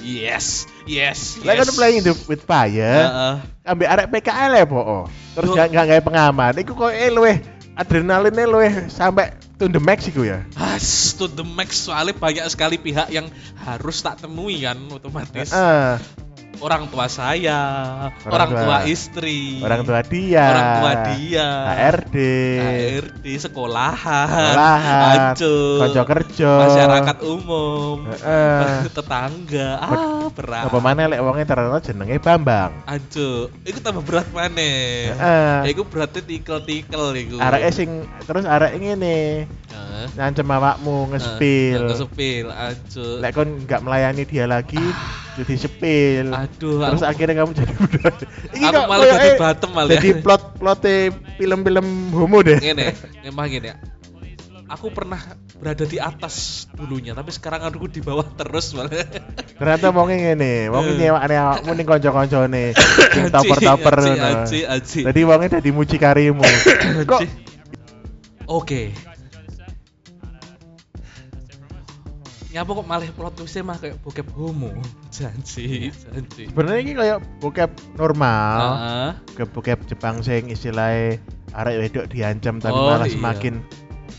yes, yes, yes.
Lah kan playing the- with fire.
Heeh.
Ambek arek PKL ya po. Terus
Duh.
gak gak gawe pengaman. Iku e kok luweh adrenalinnya luweh sampai to the max iku ya.
Has to the max soalnya banyak sekali pihak yang harus tak temui kan otomatis.
Heeh.
Orang tua saya, orang,
Orang
tua.
tua.
istri,
Orang tua dia.
orang tua dia,
HRD.
HRD, sekolahan,
Sekolahan,
hancur,
Konco kerja.
masyarakat umum,
Heeh.
tetangga, ah berat,
Apa mana lek wonge ternyata jenenge Bambang.
hancur, itu tambah berat mana? Ya,
Heeh.
itu beratnya tikel-tikel itu.
Areke sing terus arek ngene
Heeh.
ngancem awakmu
Heeh,
ngespil.
Ngespil, hancur.
Lek kon nggak melayani dia lagi jadi sepil.
Ah. Aduh,
Terus
aku,
akhirnya kamu jadi budak.
aku
kok
malah jadi
koyoke
bottom malah. Iya.
Jadi plot plotnya film-film homo deh.
Ngene, emang gini. Aku pernah berada di atas dulunya, tapi sekarang aku di bawah terus malah.
Ternyata mau ngene, mau nyewakne awakmu ning kanca-kancane sing toper-toper
Aji,
ngono.
aji, aji.
Jadi wonge dadi mucikarimu. Kok
Aji. Oke. Nyapa Ya, kok malah plot twistnya mah kayak bokep homo. Janji, janji.
sebenarnya ini kayak bokep normal,
Heeh.
bokep bokep Jepang sing istilahnya arek wedok diancam tapi
Oh,
malah
iya.
semakin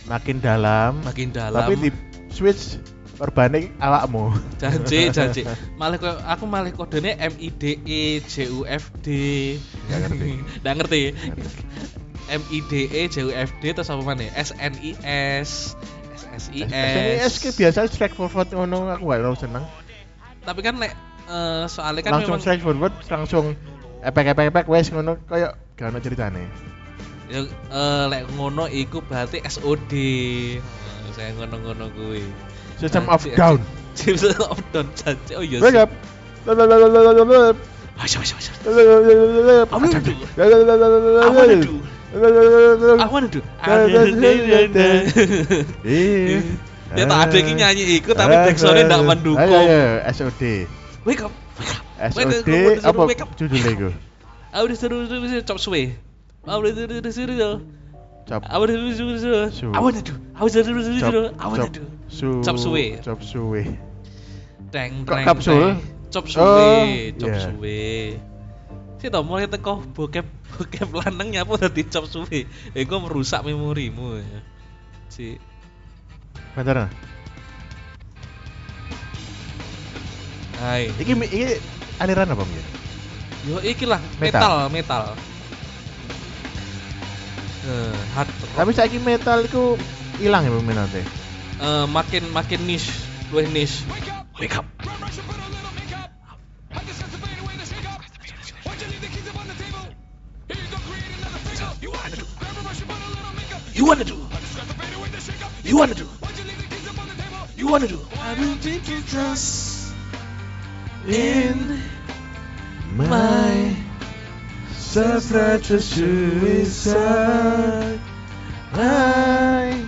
makin dalam,
makin dalam.
tapi di switch korbannya awakmu.
Janji, janji. Malah kayak aku malah kodenya M I D E J U F D.
Nggak ngerti.
Nggak ngerti. M I D E J U F D terus apa mana? ya? S N I S S S I
SNES
S.
ke biasa straightforward ngono aku gak terlalu seneng.
Tapi kan lek eh, soalnya kan
langsung
memang
straightforward langsung epek-epek-epek wes ngono koyo gak ono ceritane.
ya, eh, lek ngono iku berarti SOD. Eh, Saya ngono-ngono kuwi.
System
Ah,
of
cek,
down.
Chips of Down janji. Oh iya.
Backup.
Asyik, asyik, asyik.
I
wanna do. I wanna do. I wanna do. I wanna do.
Iya.
Iya. Dia tak ada
Eh.
yang nyanyi iku tapi backsoundnya tidak mendukung.
Ayo, ayo, SOD.
Wake up, wake up. Wake up,
SOD
aku disuruh
apa
wake up.
judulnya iku?
Aku disuruh disuruh disuruh chop suey. Aku disuruh disuruh disuruh.
Cop.
Aku disuruh disuruh disuruh.
Su-
I wanna do. Aku disuruh disuruh
Cop.
disuruh. I wanna
Cop.
do.
Su-
Chop suey.
Chop suey.
Teng
Kok
teng.
kapsul?
teng. Chop suey,
Oh,
chop
iya.
suey. Sih tau mulai teko bokep bokep lanang nyapu dadi chop suey. Eh gua merusak memorimu. ya. Si
Bentar.
Hai.
Iki iki aliran apa Mir?
Yo iki lah
Metal.
metal, metal. Eh, hard rock.
Tapi saiki metal iku ilang ya peminatnya.
Eh, makin makin niche, luwih niche.
Wake up. You wanna do? You wanna do? You wanna do?
In
My self-righteous suicide I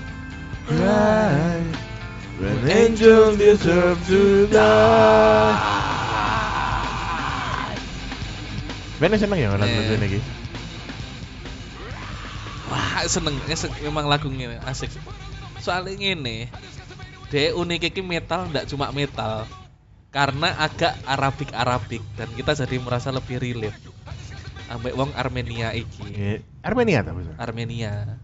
cry When angels deserve to die Bener seneng ya lagu
Eh.
lagu ini
Wah, seneng Ngesek, memang lagu ngene asik. Soalnya ngene, dia unik iki metal ndak cuma metal. Karena agak Arabik-Arabik dan kita jadi merasa lebih relate. Ambek wong Armenia iki.
Eh, Armenia tapi
Armenia.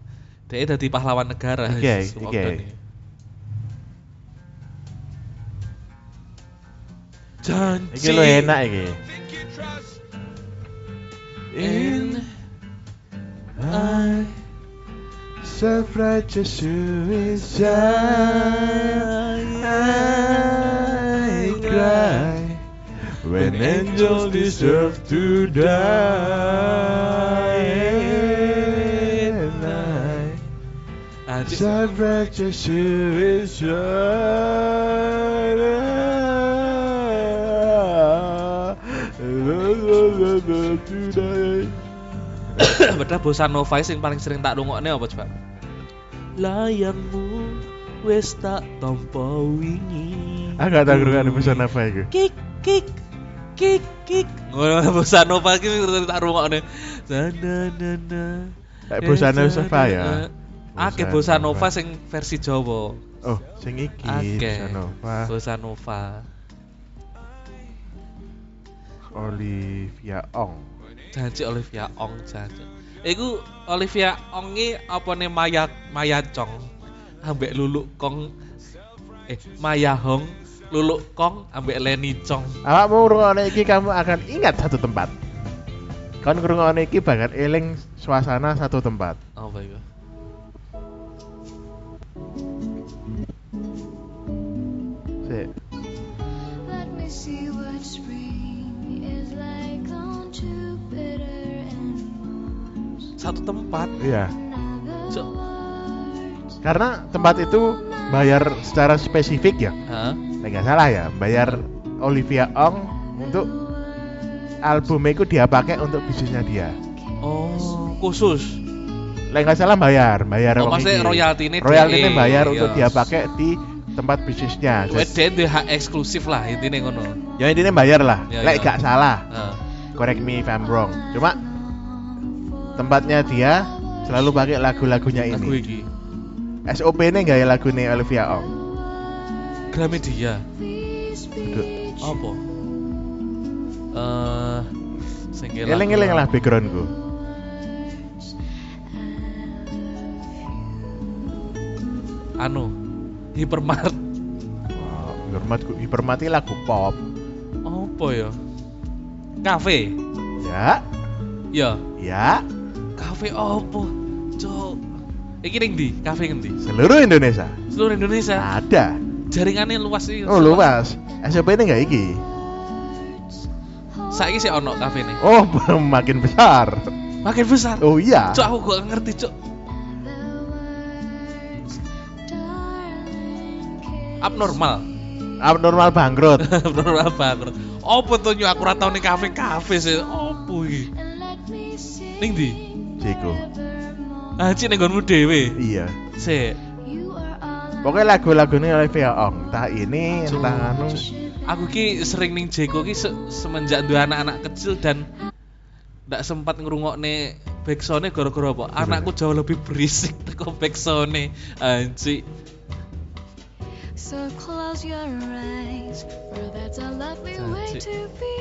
Dia jadi pahlawan negara.
Oke,
Yesus,
oke.
Ogden ini. Janji.
Iki lo enak iki
In
I self-righteous suicide I cry When angels deserve to die And I
Adik-
self-righteous suicide to die
Padahal bossa nova sing paling sering tak lungokne apa coba? Layangmu wis tak tampa wingi.
Aku gak tau kerugian pesan apa itu
Kik kik kik kik. Ngono bossa nova iki sering tak rungokne. Na na na na.
Eh, bossa
Iya,
nova ya?
Akeh
Bossa
bossa
nova.
nova sing versi Jawa.
Oh, sing iki
Akeh.
Pesan apa?
Bossa nova.
Olivia Ong
Janji Olivia Ong janji. Iku Olivia Ong iki apane Maya Maya Chong. Ambek Lulu Kong. Eh Maya Hong, Lulu Kong ambek Lenny Chong.
Awakmu ngrungokne iki kamu akan ingat satu tempat Kon ngrungokne iki bakal eling suasana satu tempat
Apa iku?
Sik.
Let me see what spring is like on Jupiter and Mars.
Satu tempat.
Iya
Another
So-
world.
Karena tempat itu bayar secara spesifik ya
Hah?
Nah, nggak salah ya, bayar Olivia Ong untuk albumnya itu dia pakai untuk bisnisnya dia.
Oh, khusus.
Lah nggak salah bayar, bayar
Oh,
wong
maksudnya
iki.
royaltine
Royaltine
dhewe,
bayar
iya.
untuk dia pakai di tempat bisnisnya.
Kuwi
Jadi,
dhek duwe hak eksklusif lah intine ngono.
ya intinya bayar lah.
Iya,
Lek
iya.
nggak salah,
Heeh.
correct me if I'm wrong. Cuma tempatnya dia selalu pakai lagu-lagunya
Aku
ini.
iki.
SOP-nya nggak ya lagu nih Olivia Ong.
Gramedia.
Duduk.
Apa? Eh sing kira-
Eling-eling lah backgroundku.
Anu, Hypermart.
Wah, Hormatku, hipermati lagu pop.
Apa ya? Kafe.
Ya,
Ya.
ya,
Kafe opo? Cok. Iki ning ndi? Kafe ngendi?
seluruh Indonesia
Seluruh Indonesia.
ada.
Jaringannya luas sih.
Oh luas. SOP ini nggak iki.
Saiki sih ono kafe nih.
Oh makin besar.
Makin besar.
Oh iya.
Cok aku gak ngerti, Cok. Abnormal.
Abnormal bangkrut.
Abnormal banget. Opo tuh nyu aku ora tau ning kafe-kafe sih. Opo iki? Ning ndi?
Ciko.
Haji ning nggonmu dhewe.
Iya.
Sik.
Pokoknya lagu-lagu ini Olivia Ong. Entah ini,
Cuk,
entah anu.
cuk. Aku ki sering ning Jeko ki se- semenjak dua anak-anak kecil dan ndak sempat ngrungokne backsone gara-gara apa? Anakku jauh lebih berisik teko backsone. Anci.
So close your eyes, for that's a lovely way to be.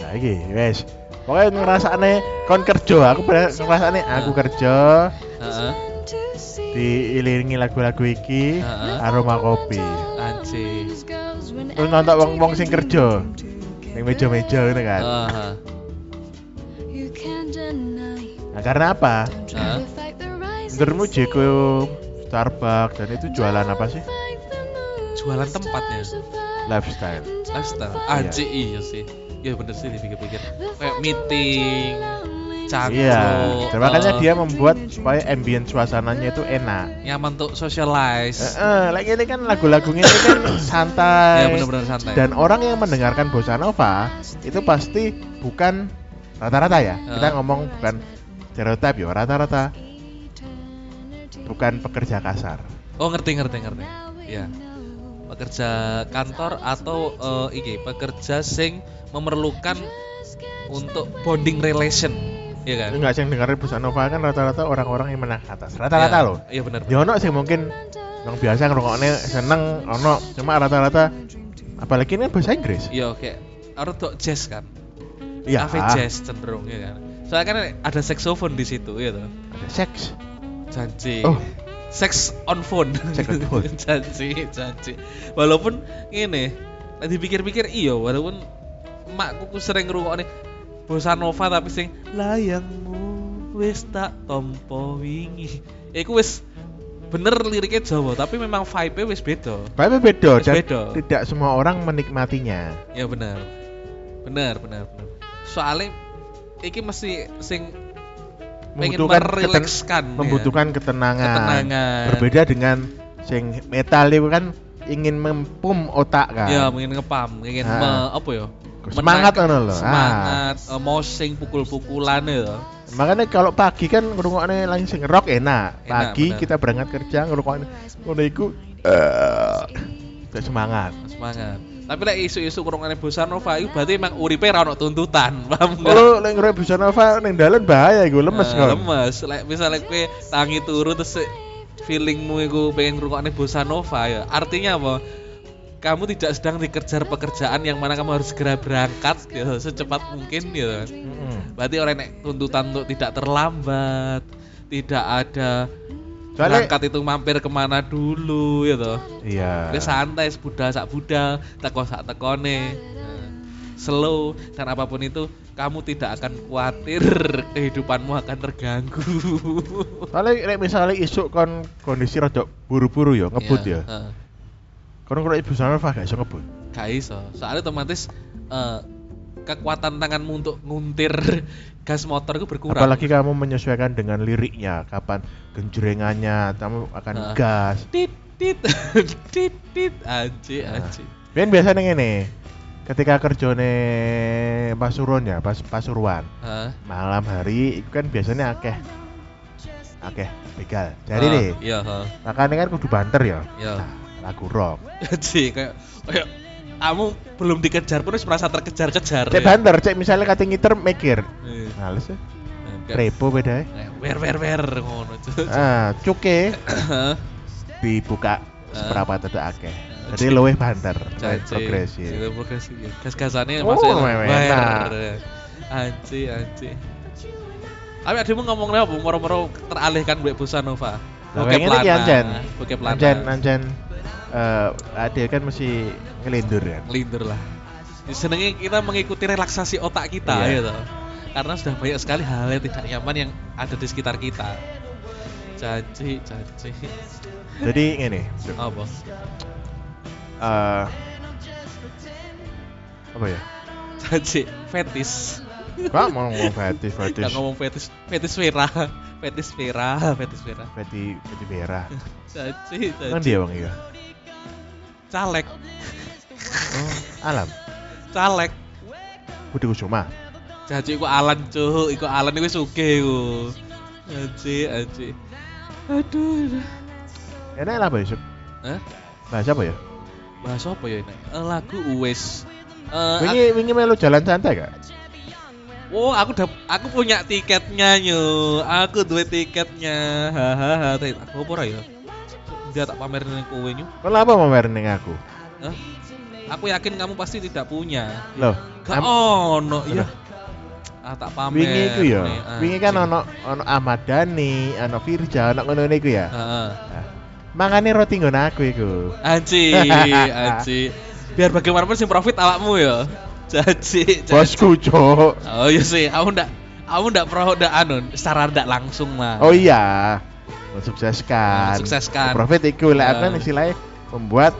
Nah iki, wes. Pokoknya ngerasane kon kerja. Aku bener- ngerasane aku kerja
Heeh.
To see.
diiringi lagu-lagu iki
Heeh.
aroma kopi.
Anjing.
Terus nonton wong-wong sing kerja. yang meja-meja gitu kan
Ah,
You can't deny.
nah karena apa
Don't try
Huh?
to fight the rising
menurutmu
sea.
Jeko Starbucks dan itu jualan apa sih
Don't fight the moon,
Jualan
the
tempatnya.
stars above.
lifestyle
Don't
lifestyle.
fight
Anjir iya see. Ya bener sih dipikir-pikir.
the
Kayak
fight
meeting,
of lonely
cangkruk.
iya dan makanya
eh,
dia membuat supaya ambient suasananya itu enak
nyaman
Eh,
untuk socialize.
eh, lagi ini kan lagu-lagu ini kan santai
Ya bener-bener santai.
dan orang yang mendengarkan bossa nova itu pasti bukan rata-rata ya kita
Eh.
ngomong bukan stereotip ya rata-rata
eternity.
bukan pekerja kasar
Oh ngerti ngerti ngerti. Ya
know.
pekerja kantor atau eh, iki pekerja sing memerlukan untuk bonding relation, ya kan?
enggak sih yang dengerin bossa nova kan rata-rata orang-orang yang menang atas rata-rata
Ya,
loh
Iya bener.
ya ono sih mungkin yang biasa ngerokoknya seneng ono cuma rata-rata apalagi ini bahasa Inggris
Iya kayak ortok jazz kan.
iya
Cafe jazz cenderung ya kan. Soalnya kan ada saxophone di situ ya toh.
ada seks
Janji.
oh
Sex on phone.
Sex on phone.
janji, janji. Walaupun ini, nanti pikir-pikir iya, walaupun makku ku sering ngrungokne bossa nova tapi sing layangmu wis tak tompo wingi. Iku wis bener liriknya Jawa, tapi memang vibe-nya wis beda.
tapi beda
Wis
dan
beda.
tidak semua orang menikmatinya
Ya benar. Benar, benar, benar. Soalnya iki mesti sing pengen
membutuhkan keten-
merilekskan ya.
membutuhkan ketenangan.
ketenangan.
berbeda dengan sing metal itu kan ingin mempum otak kan
Ya, mungkin ngepam, ingin
Ah.
me- apa ya?
semangat
menangkap-
ngono lho ah.
Semangat, eh, mau sing pukul-pukulan ya.
makanya kalau pagi kan ngerungokne langsung rock enak
Enak,
pagi
benar.
kita berangkat kerja ngerungokne ngono iku eh, gak semangat
Semangat. Tapi lek isu-isu kurungan bossa nova itu berarti emang uripe ra ono tuntutan, paham nggak?
kalau lek ngerokok bisa nova ning dalan bahaya iku Oh, lemes
Eh,
kan
lemes. Lek misalnya kowe tangi turu terus se- feelingmu iku pengen ngrungokne bossa nova ya. Artinya apa? Kamu tidak sedang dikejar pekerjaan yang mana kamu harus segera berangkat ya, secepat mungkin ya.
Mm-mm.
Berarti orang nek tuntutan untuk tidak terlambat, tidak ada
soalnya
berangkat itu mampir kemana dulu ya toh.
iya
Wis santai sebudal sak budal, teko sak tekone. Nah, Slow dan apapun itu kamu tidak akan khawatir kehidupanmu akan terganggu.
soalnya lek misalnya isuk kon kondisi rada buru-buru ya ngebut ya
heeh.
kon ngerokok bisa nova gak iso ngebut
eh, Gak iso. Soalnya otomatis eh, kekuatan tanganmu untuk nguntir gas motor itu berkurang.
Apalagi kan- kamu menyesuaikan dengan liriknya, kapan genjrengannya, kamu akan
Ah.
gas.
tit tit tit tit anjir
Nah.
anjir.
Ben biasanya ngene. Ketika kerjone Pasuruan ya, pas Pasuruan.
Hah?
Malam hari itu kan biasanya akeh akeh begal. Jadi
Ah,
nih,
Iya, heeh.
makanya kan kudu banter ya.
Iya.
Nah, lagu rock.
Anjir kayak kayak kamu belum dikejar pun harus merasa terkejar-kejar.
Cek
ya.
banter, cek misalnya kata ngiter mikir.
Iya.
Males ya.
Nah, kayak-
Repo beda. ya.
Kayak wer wer wer ngono Cuk.
Ah, cuke Ah.
Heeh.
dibuka
Ah.
seberapa tetek akeh. Jadi luwih banter, luwih
Cacing.
progresif.
Itu progresif ya. Gas-gasannya
Oh,
maksudnya
enak.
wer. Anci anci. Tapi ademu ngomongnya apa? Moro-moro teralihkan Mbak Busa Nova.
Lah, pengen iki anjen.
Bokep lana.
Anjen, anjen. Eh, Adil kan mesti ngelindur kan.
Ngelindur lah. Ya, Senengnya kita mengikuti relaksasi otak kita
Iya.
gitu. Karena sudah banyak sekali hal yang tidak nyaman yang ada di sekitar kita. Janji, janji.
Jadi ini,
Apa?
eh apa ya?
Janji, fetis.
Pak mau ngomong fetish,
Gak
fetish,
ngomong fetis, fetis Vera, fetis Vera, fetis Vera.
fetish, fetish merah.
Caci,
Kan
caci.
dia bang iya.
Caleg,
Oh, alam.
caleg.
Budi Kusuma.
Caci iku Alan cuk, iku Alan iku sugih iku. Caci, caci. Aduh. aduh.
Enak lah apa ya? Sup?
Hah?
Bahasa apa ya?
Bahas apa ya ini? Eh, Lagu Uwes. Eh,
Wingi, wingi melu jalan santai gak?
ak- oh, aku dap, aku punya tiketnya nyu. Aku duwe tiketnya. Hahaha, tapi aku apa ora ya? Dia tak pamerin nang kowe nyu.
Kau apa mau ning aku?
Hah? Aku yakin kamu pasti tidak punya.
Loh,
Gak
am- Loh.
ono ya. Ah tak pamer.
wingi iku ya.
nih, ah,
Wingi kan
sing-
ono ono Ahmad Dhani, ono Firja, ono ngono iku ya.
Heeh.
Nah, Mangane roti nggon aku iku.
Anci, anci. Biar bagaimanapun sing profit awakmu ya. Cacik, cacik.
Bosku, Cok.
Oh iya sih, aku ndak aku ndak pernah ndak anu secara ndak langsung lah.
Oh iya. Mensukseskan.
Mensukseskan.
Profit iku lek apa
Ah.
istilahnya membuat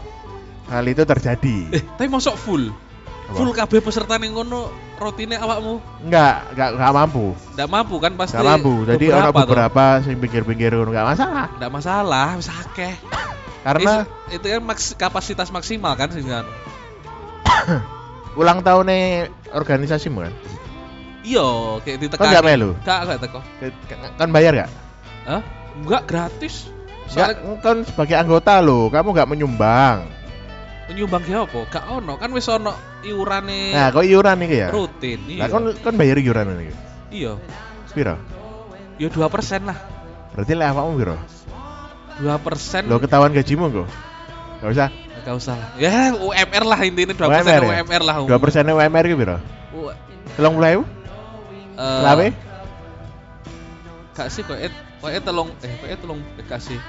hal itu terjadi.
Eh, tapi mosok full.
Apa?
Full kabeh peserta ning kono rotine awakmu
Enggak, enggak enggak mampu.
ndak mampu kan pasti.
Enggak mampu. Jadi orang
toh.
beberapa sing pinggir-pinggir ngono enggak masalah.
Ndak masalah, wis akeh.
Karena
Eh, itu kan maks- kapasitas maksimal kan sing anu.
ulang tahunnya organisasi kan.
Iya, kayak ditekan.
Kok nggak melu?
Nggak, nggak teko.
Kan bayar enggak?
Hah? Enggak gratis.
Enggak,
Soalnya
kan sebagai anggota lo, kamu enggak menyumbang.
nyumbang ge apa? Gak ono, kan wis ono iurane
Nah, kok iuran iki ya?
rutin.
Lah
Iya.
kan kan bayar iuran iki.
iya.
Piro?
Ya 2% lah.
Berarti lah awakmu piro?
2%
Lo ketahuan gajimu kok. Enggak usah.
Gak usah lah. Ya UMR lah intinya 2%
UMR
UMR,
ya?
lah.
2% UMR ki piro?
U-
30.000?
eh,
Lawe?
Gak sih kok eh kok eh telung eh kok eh telung eh, gak sih.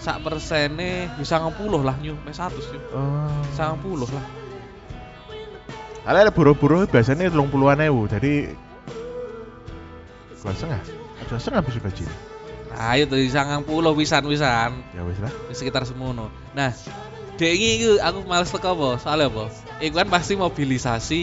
Sak persene bisa ngepuluh lah nyu, mes 100 nyu.
Oh.
Sang puluh lah.
Ala ada buruh-buruh biasanya telung puluhan ewu, jadi dua setengah, dua setengah bisa gaji.
Nah, itu sangang puluh wisan-wisan.
Ya wes lah.
di sekitar semono. Nah, dengi itu aku males teko apa? Soalnya apa? Iku kan pasti mobilisasi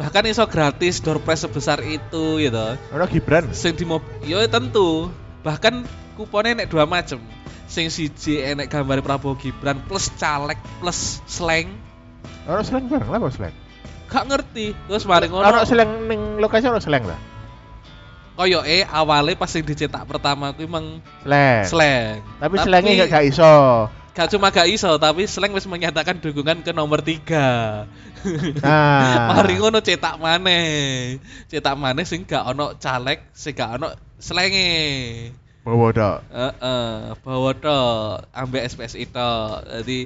bahkan iso gratis door prize sebesar itu gitu.
Ono Gibran,
Sing di mob yo tentu. Bahkan kuponnya nek dua macem. Sing siji enek gambar Prabowo Gibran plus caleg plus slang.
ono seleng bareng lah, bos seleng.
Gak ngerti. Terus mari
Ono
ngono.
seleng ning lokasi ono seleng lah.
Koyoke awale eh, pas sing dicetak pertama ku emang
Seleng.
slang.
Eh. Tapi selengnya gak gak iso.
Gak cuma gak iso, tapi Slank wis menyatakan dukungan ke nomor 3.
Nah.
Mari ngono cetak maneh. Cetak maneh sing gak ono caleg, sing gak ono slenge.
Bawa dok.
Heeh, bawa tok ambek SPSI tok. Dadi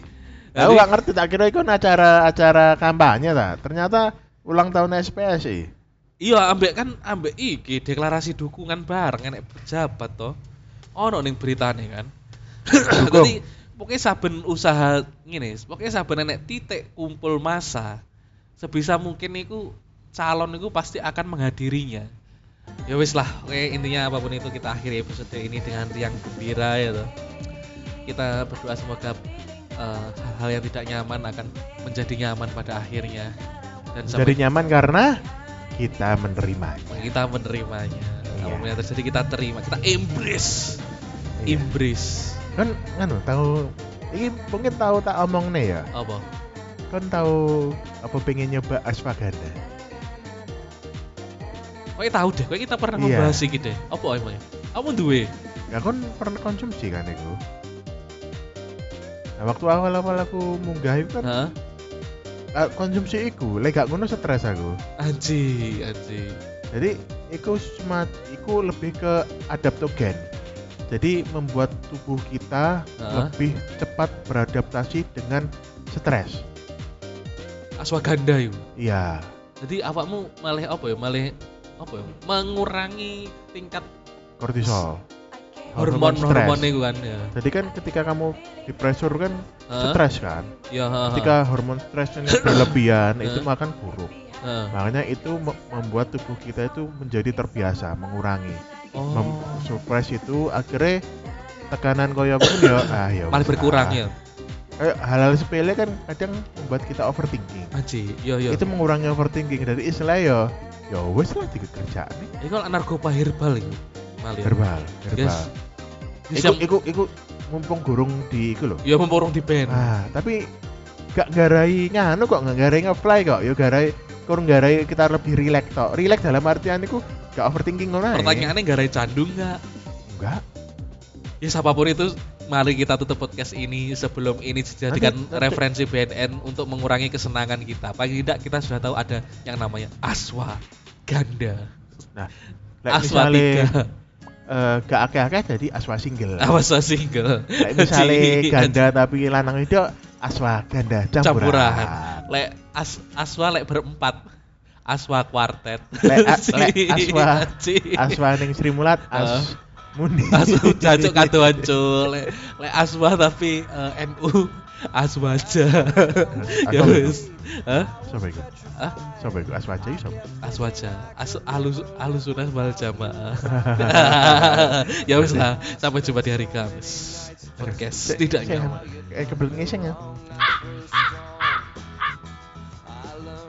Aku gak ngerti, tak kira itu acara-acara kampanye ta. Ternyata ulang tahun SPSI.
Iya, ambek kan ambek iki deklarasi dukungan bareng enek pejabat to. Ono ning beritane kan.
Dukung.
Dadi pokoknya saben usaha ngene, pokoknya saben enek titik kumpul massa sebisa mungkin niku calon niku pasti akan menghadirinya. Ya wis lah, oke intinya apapun itu kita akhiri episode ini dengan riang gembira ya toh. Kita berdoa semoga eh, hal-hal yang tidak nyaman akan menjadi nyaman pada akhirnya dan sampai
Jadi nyaman karena kita menerimanya.
kita menerimanya
Iya.
apapun yang terjadi kita terima kita embrace
Iya.
embrace
Kan nganu tahu ini mungkin tahu tak omong nih ya.
apa
Kan tahu apa pengen nyoba ashwagandha?
kau tahu deh kau kita pernah
Iya.
membahas iki deh apa emangnya kamu duwe
Ya kan pernah konsumsi kan itu. Nah, waktu awal-awal aku munggah itu kan
Hah?
eh, konsumsi iku, lek gak ngono stres aku.
anji anji
Jadi iku cuma iku lebih ke adaptogen. Jadi membuat tubuh kita
Hah?
lebih cepat beradaptasi dengan stres.
aswaganda yuk
Iya.
jadi awakmu malah apa ya malah apa ya mengurangi tingkat
kortisol
hormon
stres.
hormon itu kan ya
jadi kan ketika kamu di pressure kan
Hah?
stres kan
ya ha, ha.
ketika hormon stres yang berlebihan itu
Heeh.
makan buruk
Ha.
makanya itu me- membuat tubuh kita itu menjadi terbiasa mengurangi
oh
Mem- supres itu akhirnya tekanan koyo pun ya ah ya
malah
wes
berkurang
lah.
ya
Kayak hal-hal sepele kan kadang membuat kita overthinking
anji ya, yo yo
Ah. itu mengurangi overthinking dari istilah ya ya wes lah tiga kerjaan nih
ini kan narkoba herbal itu malah
herbal herbal
Yes. Iya.
iku, iku, iku mumpung gurung di iku loh
ya memborong di band
Ah, tapi gak garai nganu kok gak garai nge-fly kok. Yo garai kurang garai kita lebih relax tok. Relax dalam artian iku gak overthinking ngono ae.
Pertanyaannya gak ada candu nggak?
enggak.
Ya siapapun itu, mari kita tutup podcast ini sebelum ini dijadikan
Nanti- nanti-
referensi BNN untuk mengurangi kesenangan kita. Paling tidak kita sudah tahu ada yang namanya Aswa Ganda.
Nah, Lek
Aswa
misale,
tiga.
eh, gak akeh-akeh jadi aswa single.
Aswa single.
Lek misale
Jadi,
ganda tapi lanang itu aswa ganda campuran.
campuran. Lek as, Aswa lek berempat. Aswa kuartet.
Lek a-
Si,
lek aswa
si.
aswa ning Sri Mulat
Heeh.
as Muni.
Asu cacuk kadoan cul. Lek lek aswa tapi eh, NU aswa aja. ya
Aswa.
wis. Hah?
Siapa iku?
Hah?
Siapa iku? Aswaja iku siapa?
Aswa aja. Asu alus alusunan wal jamaah. ya wis lah. Sampai jumpa di hari Kamis. Podcast tidak
Saya-
nyaman.
Eh kebelet ngeseng ya.